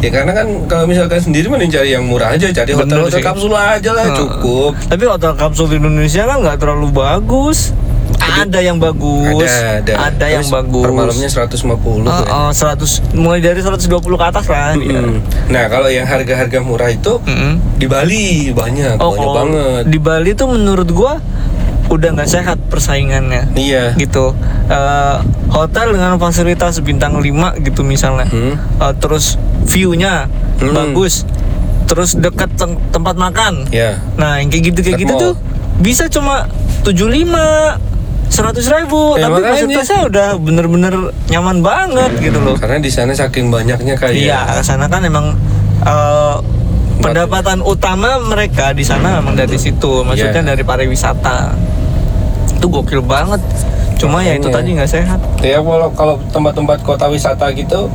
Speaker 3: ya karena kan kalau misalkan sendiri mending cari yang murah aja, cari
Speaker 1: Bener
Speaker 3: hotel hotel
Speaker 1: sih.
Speaker 3: kapsul aja lah
Speaker 1: Heeh.
Speaker 3: cukup.
Speaker 1: Tapi hotel kapsul di Indonesia kan nggak terlalu bagus. ada yang bagus,
Speaker 3: Ada ada.
Speaker 1: yang
Speaker 3: Terus
Speaker 1: bagus.
Speaker 3: Per malamnya 150.
Speaker 1: Oh,
Speaker 3: ya.
Speaker 1: oh, 100 mulai dari 120 ke atas kan. Iya.
Speaker 3: Mm. Nah, kalau yang harga-harga murah itu
Speaker 1: Mm-mm.
Speaker 3: di Bali banyak,
Speaker 1: Oh,
Speaker 3: banyak
Speaker 1: kalau
Speaker 3: banget.
Speaker 1: di Bali tuh menurut gua udah nggak sehat persaingannya.
Speaker 3: Iya.
Speaker 1: Gitu. Eh, hotel dengan fasilitas bintang 5 gitu misalnya.
Speaker 3: Hmm.
Speaker 1: Eh, terus view-nya
Speaker 3: Hmm.
Speaker 1: bagus. Terus dekat tem- tempat makan.
Speaker 3: Ya.
Speaker 1: Nah, yang kayak gitu kayak
Speaker 3: Dekat
Speaker 1: gitu
Speaker 3: mall.
Speaker 1: tuh bisa cuma 75 seratus ribu,
Speaker 3: Ya,
Speaker 1: tapi
Speaker 3: makanya.
Speaker 1: fasilitasnya udah bener-bener nyaman banget gitu loh.
Speaker 3: Karena di sana saking banyaknya ya. kayak
Speaker 1: Iya, sana kan emang eh, pendapatan utama mereka di sana memang dari situ, maksudnya
Speaker 3: Iya.
Speaker 1: dari pariwisata. Itu gokil banget. Cuma ya itu
Speaker 3: Makanya.
Speaker 1: tadi nggak sehat.
Speaker 3: Ya kalau kalau tempat-tempat kota wisata gitu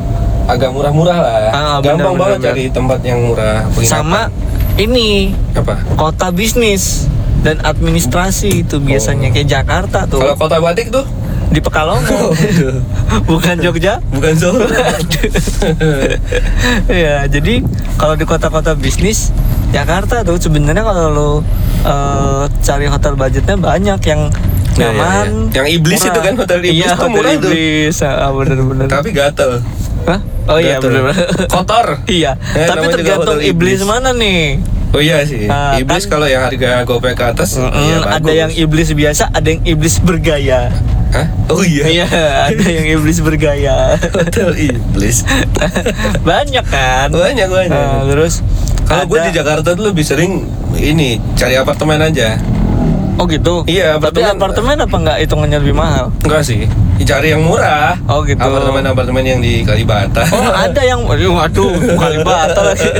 Speaker 3: agak murah-murah lah. ya.
Speaker 1: Ah, benar,
Speaker 3: Gampang
Speaker 1: benar,
Speaker 3: banget
Speaker 1: benar.
Speaker 3: cari tempat yang murah. penginapan.
Speaker 1: Sama ini
Speaker 3: apa?
Speaker 1: kota bisnis dan administrasi itu biasanya kayak Jakarta tuh
Speaker 3: Oh. Kalau Oh, kota batik tuh
Speaker 1: di Pekalongan. Bukan Jogja.
Speaker 3: bukan Solo.
Speaker 1: ya jadi kalau di kota-kota bisnis Jakarta tuh sebenarnya kalau lo eh, cari hotel budgetnya banyak yang
Speaker 3: Iya, iya,
Speaker 1: nyaman
Speaker 3: iya. Yang iblis itu kan, hotel iblis
Speaker 1: iya,
Speaker 3: tuh
Speaker 1: hotel
Speaker 3: murah tuh.
Speaker 1: iblis ah, bener-bener
Speaker 3: Tapi gatel.
Speaker 1: Hah? oh iya
Speaker 3: Gatel.
Speaker 1: bener
Speaker 3: Kotor.
Speaker 1: iya
Speaker 3: Eh,
Speaker 1: tapi
Speaker 3: namanya juga
Speaker 1: tergantung
Speaker 3: hotel
Speaker 1: iblis.
Speaker 3: iblis.
Speaker 1: mana nih
Speaker 3: Oh iya sih.
Speaker 1: Ah,
Speaker 3: iblis
Speaker 1: kan-
Speaker 3: kalau yang harga gopek ke atas
Speaker 1: Mm,
Speaker 3: iya,
Speaker 1: ada
Speaker 3: bagus.
Speaker 1: yang iblis biasa ada yang iblis bergaya
Speaker 3: Hah? Oh iya.
Speaker 1: iya ada yang iblis bergaya
Speaker 3: Hotel iblis.
Speaker 1: banyak kan
Speaker 3: Banyak banyak.
Speaker 1: Ah, terus
Speaker 3: kalau gue
Speaker 1: ada-
Speaker 3: di Jakarta tuh lebih sering ini cari apartemen aja.
Speaker 1: Oh gitu.
Speaker 3: Iya,
Speaker 1: Tapi
Speaker 3: apartemen-
Speaker 1: apartemen apa nggak hitungannya lebih mahal?
Speaker 3: Enggak sih. Cari yang murah.
Speaker 1: Oh, gitu.
Speaker 3: Apartemen-apartemen yang di Kalibata.
Speaker 1: Oh ada yang aduh, waduh Kalibata lagi.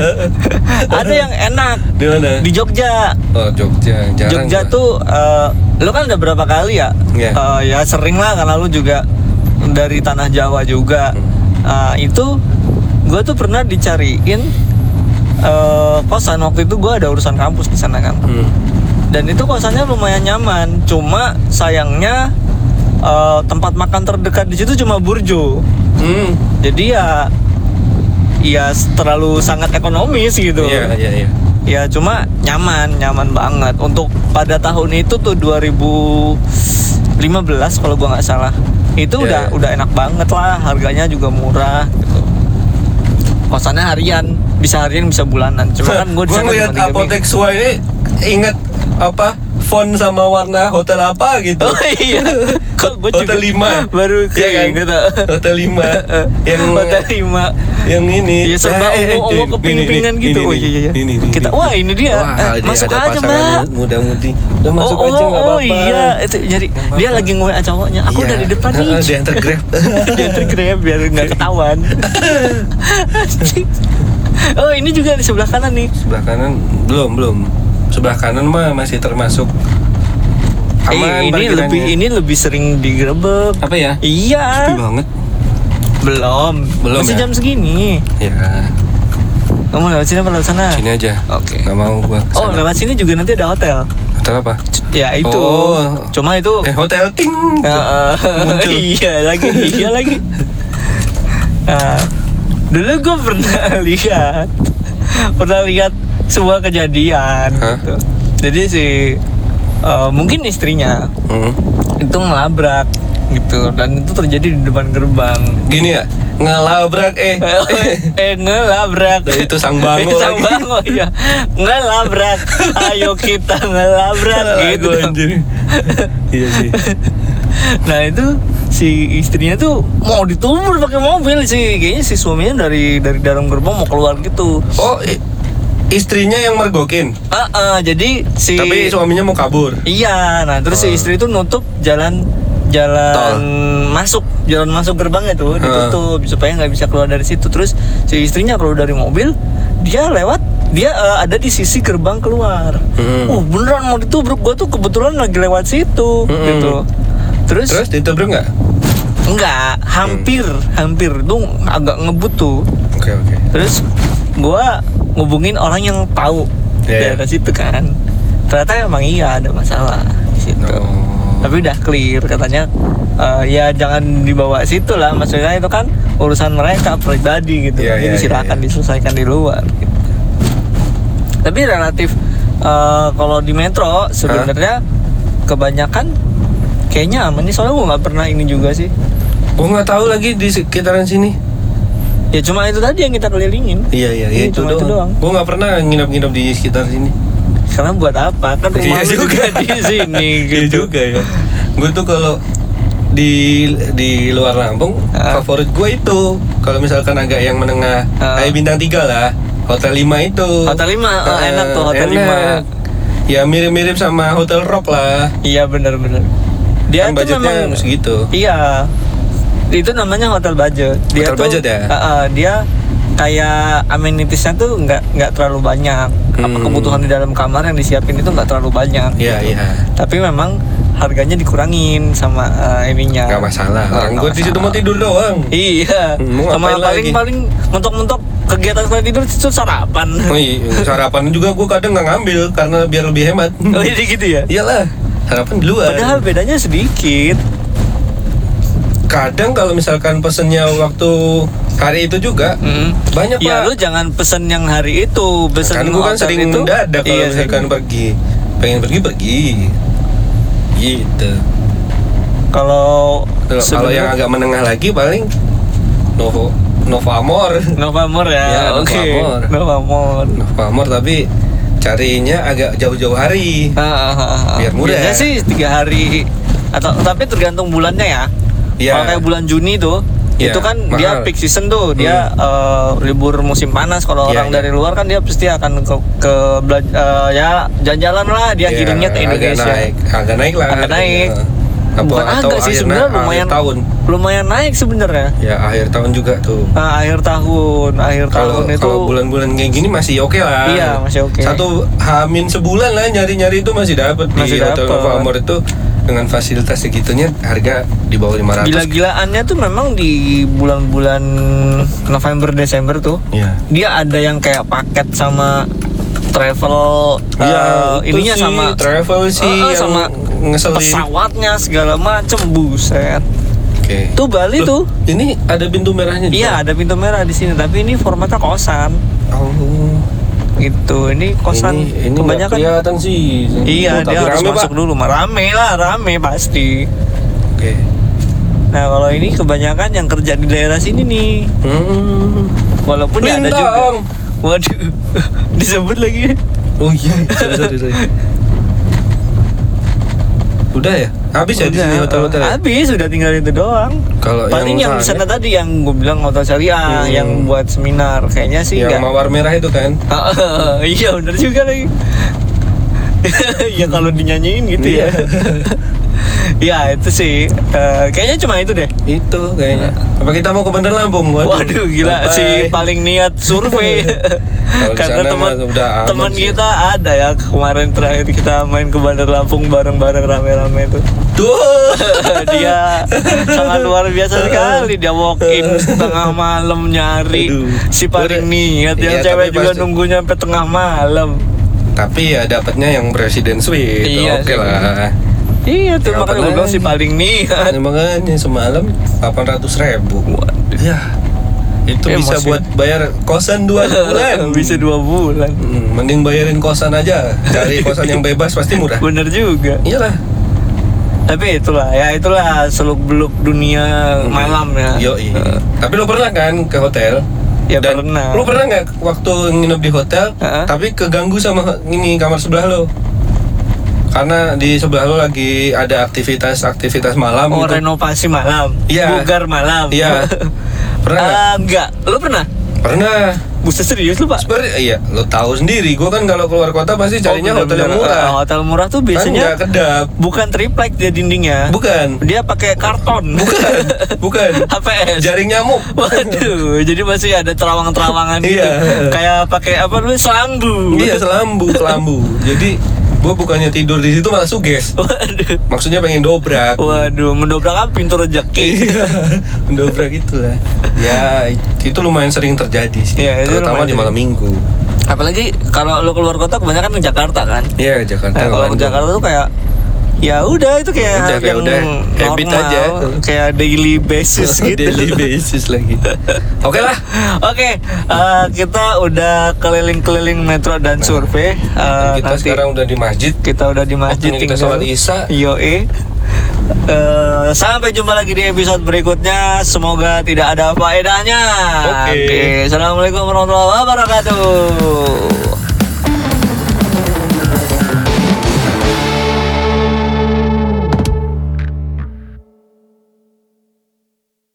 Speaker 1: ada yang enak
Speaker 3: di mana?
Speaker 1: di Jogja.
Speaker 3: Oh, Jogja. Jarang
Speaker 1: Jogja
Speaker 3: gua.
Speaker 1: tuh eh, lo kan udah berapa kali ya?
Speaker 3: Iya.
Speaker 1: Eh, ya sering lah karena lo juga dari tanah Jawa juga. Eh, itu gue tuh pernah dicariin eh, kosan waktu itu gue ada urusan kampus di sana kan.
Speaker 3: Hmm.
Speaker 1: dan itu kosannya lumayan nyaman cuma sayangnya eh, tempat makan terdekat di situ cuma burjo
Speaker 3: Hmm.
Speaker 1: jadi ya ya terlalu sangat ekonomis gitu
Speaker 3: Iya, iya, iya.
Speaker 1: ya cuma nyaman nyaman banget untuk pada tahun itu tuh 2015 kalau gua nggak salah itu
Speaker 3: Iya,
Speaker 1: udah
Speaker 3: iya.
Speaker 1: udah enak banget lah harganya juga murah gitu kosannya harian bisa harian bisa bulanan cuma kan gue
Speaker 3: Gua ngeliat apotek Sua ini inget apa font sama warna hotel apa gitu.
Speaker 1: Oh iya. Kok gue juga
Speaker 3: hotel 5
Speaker 1: baru
Speaker 3: Iya kan?
Speaker 1: kayak gitu.
Speaker 3: Hotel 5 yang
Speaker 1: hotel 5
Speaker 3: yang ini
Speaker 1: Iya serba
Speaker 3: Eh, eh, eh,
Speaker 1: ungu-ungu
Speaker 3: ini, ini,
Speaker 1: keping-pingan
Speaker 3: ini,
Speaker 1: gitu.
Speaker 3: ini,
Speaker 1: Oh iya iya.
Speaker 3: ini, ini,
Speaker 1: Kita
Speaker 3: ini.
Speaker 1: wah ini dia.
Speaker 3: Wah,
Speaker 1: Eh,
Speaker 3: dia
Speaker 1: masuk
Speaker 3: ada
Speaker 1: aja,
Speaker 3: pasangan
Speaker 1: Mbak.
Speaker 3: Muda-mudi. Udah masuk
Speaker 1: oh,
Speaker 3: aja
Speaker 1: oh, oh,
Speaker 3: enggak apa-apa.
Speaker 1: iya, itu jadi
Speaker 3: Nggak
Speaker 1: dia
Speaker 3: apa-apa.
Speaker 1: lagi ngoe cowoknya. Aku
Speaker 3: Iya.
Speaker 1: udah di depan nih.
Speaker 3: Heeh, Dia yang tergrab.
Speaker 1: Dia tergrab biar nggak ketahuan. Anjing. oh, ini juga di sebelah kanan nih.
Speaker 3: Sebelah kanan belum, belum. Sebelah kanan mah masih termasuk
Speaker 1: Eh,
Speaker 3: aman
Speaker 1: ini
Speaker 3: parkirannya.
Speaker 1: lebih ini lebih sering digerebek.
Speaker 3: apa ya? Sepi
Speaker 1: Iya.
Speaker 3: banget.
Speaker 1: Belum.
Speaker 3: Belum
Speaker 1: Masih
Speaker 3: ya?
Speaker 1: jam segini.
Speaker 3: Ya,
Speaker 1: Ah. Kamu lewat sini apa lewat sana?
Speaker 3: sini aja.
Speaker 1: Oke.
Speaker 3: Nggak mau gua. kesana.
Speaker 1: Oh, lewat sini juga nanti ada hotel.
Speaker 3: Hotel apa?
Speaker 1: Ya itu.
Speaker 3: Oh.
Speaker 1: Cuma itu
Speaker 3: Eh, hotel ting.
Speaker 1: Heeh.
Speaker 3: Muncul.
Speaker 1: iya lagi, iya lagi. Nah, dulu gue pernah lihat, pernah lihat sebuah kejadian.
Speaker 3: Hah?
Speaker 1: gitu. Jadi si eh, mungkin istrinya
Speaker 3: Hmm.
Speaker 1: itu ngelabrak gitu dan itu terjadi di depan gerbang.
Speaker 3: Gini ya, ngelabrak eh.
Speaker 1: eh ngelabrak
Speaker 3: Nah, itu sang bango
Speaker 1: Itu sang
Speaker 3: lagi.
Speaker 1: bango iya ngelabrak ayo kita ngelabrak gitu
Speaker 3: Aduh, anjir. iya sih.
Speaker 1: nah itu si istrinya tuh mau ditumur pakai mobil sih kayaknya si suaminya dari dari dalam gerbang mau keluar gitu
Speaker 3: Oh, i- istrinya yang mergokin.
Speaker 1: ah ah, jadi si
Speaker 3: Tapi suaminya mau kabur.
Speaker 1: iya nah terus si istri itu nutup jalan jalan
Speaker 3: Oh. Tol.
Speaker 1: masuk jalan masuk gerbang itu ditutup supaya nggak bisa keluar dari situ terus si istrinya keluar dari mobil dia lewat dia eh, ada di sisi gerbang keluar
Speaker 3: Hmm.
Speaker 1: uh beneran mau ditubruk gua tuh kebetulan lagi lewat situ
Speaker 3: Hmm.
Speaker 1: gitu terus
Speaker 3: Terus ditabrak nggak?
Speaker 1: Enggak, hampir,
Speaker 3: Mm.
Speaker 1: hampir tuh agak ngebut tuh.
Speaker 3: Oke oke.
Speaker 1: Terus gua ngubungin orang yang tahu
Speaker 3: Iya, iya.
Speaker 1: daerah situ kan. Ternyata emang iya ada masalah di situ.
Speaker 3: Oh.
Speaker 1: Tapi udah clear katanya eh, ya jangan dibawa situ lah maksudnya itu kan urusan mereka pribadi gitu.
Speaker 3: Iya,
Speaker 1: Jadi
Speaker 3: iya, iya,
Speaker 1: silakan
Speaker 3: iya.
Speaker 1: diselesaikan di luar gitu. Tapi relatif eh, kalau di metro sebenarnya kebanyakan kayaknya aman nih soalnya gua nggak pernah ini juga sih.
Speaker 3: Gua nggak tahu lagi di sekitaran sini.
Speaker 1: Ya cuma itu tadi yang kita kelilingin.
Speaker 3: Iya iya iya
Speaker 1: Iya,
Speaker 3: itu
Speaker 1: cuma itu doang.
Speaker 3: doang. Gua nggak pernah nginep-nginep di sekitar sini.
Speaker 1: Karena buat apa? Kan rumah
Speaker 3: Iya
Speaker 1: lu juga
Speaker 3: juga.
Speaker 1: di sini
Speaker 3: Iya
Speaker 1: gitu.
Speaker 3: juga ya. Gue tuh kalau di di luar Lampung
Speaker 1: Ah.
Speaker 3: favorit gue itu kalau misalkan agak yang menengah
Speaker 1: Ah.
Speaker 3: kayak bintang 3 lah hotel 5 itu
Speaker 1: Hotel lima, oh,
Speaker 3: Ah,
Speaker 1: enak tuh hotel lima.
Speaker 3: ya mirip-mirip sama hotel rock lah
Speaker 1: Iya benar-benar. Dia
Speaker 3: Kan
Speaker 1: tuh
Speaker 3: budgetnya gitu.
Speaker 1: memang
Speaker 3: segitu.
Speaker 1: Iya. Itu namanya hotel budget. Dia
Speaker 3: Hotel
Speaker 1: tuh,
Speaker 3: budget ya?
Speaker 1: Heeh, dia kayak amenitiesnya tuh nggak nggak terlalu banyak. Apa
Speaker 3: Hmm.
Speaker 1: kebutuhan di dalam kamar yang disiapin itu nggak terlalu banyak.
Speaker 3: Iya,
Speaker 1: gitu.
Speaker 3: iya.
Speaker 1: Tapi memang harganya dikurangin sama eh, ininya.
Speaker 3: nggak masalah
Speaker 1: Nggak-
Speaker 3: orang
Speaker 1: nggak
Speaker 3: gue di situ
Speaker 1: masalah.
Speaker 3: mau tidur doang
Speaker 1: Iya.
Speaker 3: Hmm, mau
Speaker 1: Sama
Speaker 3: ngapain
Speaker 1: paling
Speaker 3: lagi?
Speaker 1: paling mentok-mentok kegiatan selain tidur itu sarapan.
Speaker 3: Oh iya, sarapan juga gue kadang nggak ngambil karena biar lebih hemat
Speaker 1: Oh jadi gitu ya.
Speaker 3: iyalah sarapan di luar
Speaker 1: Padahal bedanya sedikit.
Speaker 3: kadang kalau misalkan pesennya waktu hari itu juga
Speaker 1: Mm.
Speaker 3: banyak
Speaker 1: Ya
Speaker 3: Iya, Pak.
Speaker 1: lu jangan pesen yang hari itu, pesen
Speaker 3: kan
Speaker 1: yang
Speaker 3: gue kan
Speaker 1: hotel
Speaker 3: sering
Speaker 1: itu.
Speaker 3: mendadak kalau
Speaker 1: Iya,
Speaker 3: misalkan
Speaker 1: sering.
Speaker 3: pergi pengen pergi pergi gitu
Speaker 1: Kalau
Speaker 3: kalau kalau yang agak menengah lagi paling Novo Novo Amor
Speaker 1: Nova Amor ya.
Speaker 3: Ya, Nova
Speaker 1: Oke.
Speaker 3: Amor.
Speaker 1: Nova Amor.
Speaker 3: Novo Amor tapi carinya agak jauh-jauh hari
Speaker 1: Ah, ah, ah, ah.
Speaker 3: Biar ya. murah.
Speaker 1: Biasanya sih tiga hari atau tapi tergantung bulannya ya.
Speaker 3: Iya.
Speaker 1: Kalau kayak bulan Juni tuh
Speaker 3: Iya,
Speaker 1: itu kan
Speaker 3: mahal. Hmm.
Speaker 1: dia peak season tuh dia eh, libur musim panas kalau
Speaker 3: Iya,
Speaker 1: orang
Speaker 3: iya.
Speaker 1: dari luar kan dia pasti akan ke, ke bela- eh, ya jalan-jalan lah dia
Speaker 3: Ya,
Speaker 1: kirimnya ke Indonesia
Speaker 3: agak naik agak naik lah
Speaker 1: agak naik
Speaker 3: harganya. Apa-
Speaker 1: bukan
Speaker 3: atau
Speaker 1: agak sih
Speaker 3: akhir-
Speaker 1: sebenarnya
Speaker 3: akhir
Speaker 1: lumayan
Speaker 3: tahun
Speaker 1: lumayan naik sebenarnya
Speaker 3: ya akhir tahun juga tuh
Speaker 1: Ah, akhir tahun akhir
Speaker 3: kalau
Speaker 1: tahun itu
Speaker 3: kalau bulan-bulan kayak gini masih oke lah
Speaker 1: Iya, masih oke.
Speaker 3: satu hamin sebulan lah nyari-nyari itu masih dapat
Speaker 1: Masih
Speaker 3: di hotel
Speaker 1: dapet.
Speaker 3: Nova Amor itu dengan fasilitas segitunya harga di bawah 500
Speaker 1: gila-gilaannya tuh memang di bulan-bulan November Desember tuh
Speaker 3: Iya.
Speaker 1: dia ada yang kayak paket sama travel
Speaker 3: Iya,
Speaker 1: eh,
Speaker 3: itu
Speaker 1: ininya
Speaker 3: sih,
Speaker 1: sama
Speaker 3: travel
Speaker 1: Eh,
Speaker 3: sih
Speaker 1: eh,
Speaker 3: yang
Speaker 1: sama
Speaker 3: ngeselin.
Speaker 1: pesawatnya segala macem buset
Speaker 3: Oke.
Speaker 1: tuh Bali
Speaker 3: Loh,
Speaker 1: tuh
Speaker 3: Ini ada pintu merahnya juga?
Speaker 1: iya ada pintu merah di sini tapi ini formatnya kosan
Speaker 3: Oh.
Speaker 1: gitu ini kosan
Speaker 3: ini, ini nggak
Speaker 1: kebanyakan
Speaker 3: kelihatan sih.
Speaker 1: Iya,
Speaker 3: Oh, tapi
Speaker 1: dia harus
Speaker 3: rame,
Speaker 1: masuk
Speaker 3: Pak.
Speaker 1: dulu. Mah, Rame lah, rame pasti.
Speaker 3: Oke.
Speaker 1: Nah, kalau ini kebanyakan yang kerja di daerah sini nih.
Speaker 3: Hmm.
Speaker 1: Walaupun ya ada juga.
Speaker 3: Lintang.
Speaker 1: Waduh, disebut lagi.
Speaker 3: Oh iya, sorry, sorry, sorry. Udah ya? Habis ya di sini
Speaker 1: Udah,
Speaker 3: hotel-hotel? ya?
Speaker 1: eh, Habis, sudah tinggal itu doang.
Speaker 3: Kalau kan?
Speaker 1: Paling yang di sana
Speaker 3: sana-
Speaker 1: tadi yang gue bilang hotel syariah,
Speaker 3: Hmm.
Speaker 1: yang buat seminar, kayaknya sih
Speaker 3: yang
Speaker 1: nggak.
Speaker 3: mawar merah itu kan?
Speaker 1: iya benar juga lagi.
Speaker 3: Hmm.
Speaker 1: ya kalau dinyanyiin gitu
Speaker 3: Iya.
Speaker 1: ya. ya itu sih, Eh, kayaknya cuma itu deh.
Speaker 3: Itu kayaknya. Apa kita mau ke Bandar Lampung?
Speaker 1: Nah. Waduh gila
Speaker 3: Bye-bye.
Speaker 1: sih paling niat survei.
Speaker 3: Kalau di
Speaker 1: Karena
Speaker 3: sana
Speaker 1: teman
Speaker 3: mah udah aman
Speaker 1: teman
Speaker 3: sih.
Speaker 1: kita ada ya kemarin terakhir kita main ke Bandar Lampung bareng-bareng rame-rame itu.
Speaker 3: Tuh.
Speaker 1: dia sangat luar biasa sekali dia walk in setengah malam nyari
Speaker 3: Aduh.
Speaker 1: si paling niat yang
Speaker 3: Iya,
Speaker 1: cewek
Speaker 3: tapi
Speaker 1: juga
Speaker 3: pasti-
Speaker 1: nunggu nyampe tengah malam.
Speaker 3: Tapi ya dapatnya yang presiden suite.
Speaker 1: Iya
Speaker 3: Oke
Speaker 1: sih.
Speaker 3: lah.
Speaker 1: Iya tuh
Speaker 3: Kapan
Speaker 1: makanya gue bilang
Speaker 3: lagi?
Speaker 1: si paling niat.
Speaker 3: Nah, makanya semalam 800 ribu.
Speaker 1: Waduh.
Speaker 3: Ya, itu
Speaker 1: Eh,
Speaker 3: bisa
Speaker 1: masih-
Speaker 3: buat bayar kosan dua bulan.
Speaker 1: Bisa dua bulan.
Speaker 3: Hmm, mending bayarin kosan aja. Cari kosan yang bebas pasti murah.
Speaker 1: Bener juga.
Speaker 3: Iyalah.
Speaker 1: Tapi itulah ya itulah seluk beluk dunia malam ya.
Speaker 3: Yoi. Tapi lo pernah kan ke hotel?
Speaker 1: Ya,
Speaker 3: Dan
Speaker 1: pernah.
Speaker 3: Lo pernah nggak waktu nginep di hotel,
Speaker 1: Heeh.
Speaker 3: tapi keganggu sama ini kamar sebelah lo? Karena di sebelah lo lagi ada aktivitas-aktivitas malam
Speaker 1: Oh,
Speaker 3: gitu.
Speaker 1: renovasi malam,
Speaker 3: Iya.
Speaker 1: bugar malam.
Speaker 3: Iya. Pernah nggak?
Speaker 1: Ah, enggak. Lu pernah?
Speaker 3: Pernah.
Speaker 1: Buset serius lu, Pak?
Speaker 3: Seperti iya, lo tahu sendiri. Gue kan kalau keluar kota pasti carinya
Speaker 1: Oh,
Speaker 3: hotel yang
Speaker 1: bener-bener.
Speaker 3: murah.
Speaker 1: Ah, hotel murah tuh biasanya
Speaker 3: kan nggak kedap.
Speaker 1: bukan triplek dia dindingnya.
Speaker 3: Bukan.
Speaker 1: Dia pakai karton.
Speaker 3: Bukan. Bukan.
Speaker 1: HPS.
Speaker 3: Jaring nyamuk.
Speaker 1: Oh, Waduh, jadi masih ada terawang-terawangan gitu.
Speaker 3: Iya.
Speaker 1: Kayak pakai apa dulu selambu.
Speaker 3: Iya, selambu, kelambu. Jadi Gue bukannya tidur di situ malah suges.
Speaker 1: Waduh.
Speaker 3: Maksudnya pengen dobrak.
Speaker 1: Waduh, mendobrak apa pintu rezeki?
Speaker 3: Iya, mendobrak gitu lah. Ya, itu lumayan sering terjadi sih.
Speaker 1: Iya, itu
Speaker 3: terutama
Speaker 1: lumayan
Speaker 3: di malam minggu.
Speaker 1: Apalagi kalau lo keluar kota kebanyakan ke Jakarta kan.
Speaker 3: Iya, Jakarta.
Speaker 1: Nah, kalau ke
Speaker 3: Bandung.
Speaker 1: Jakarta tuh kayak ya udah itu kayak
Speaker 3: Udah, kayak
Speaker 1: yang
Speaker 3: udah, habit
Speaker 1: normal,
Speaker 3: aja.
Speaker 1: kayak daily basis gitu.
Speaker 3: Daily basis lagi. Oke lah.
Speaker 1: Oke, eh, kita udah keliling-keliling metro dan survei. Eh,
Speaker 3: Nah, kita
Speaker 1: nanti
Speaker 3: sekarang udah di masjid.
Speaker 1: kita udah di masjid
Speaker 3: Waktunya kita
Speaker 1: tinggal.
Speaker 3: sholat isya.
Speaker 1: Yoi. Eh, sampai jumpa lagi di episode berikutnya. Semoga tidak ada faedahnya.
Speaker 3: Oke.
Speaker 1: Assalamualaikum warahmatullahi wabarakatuh.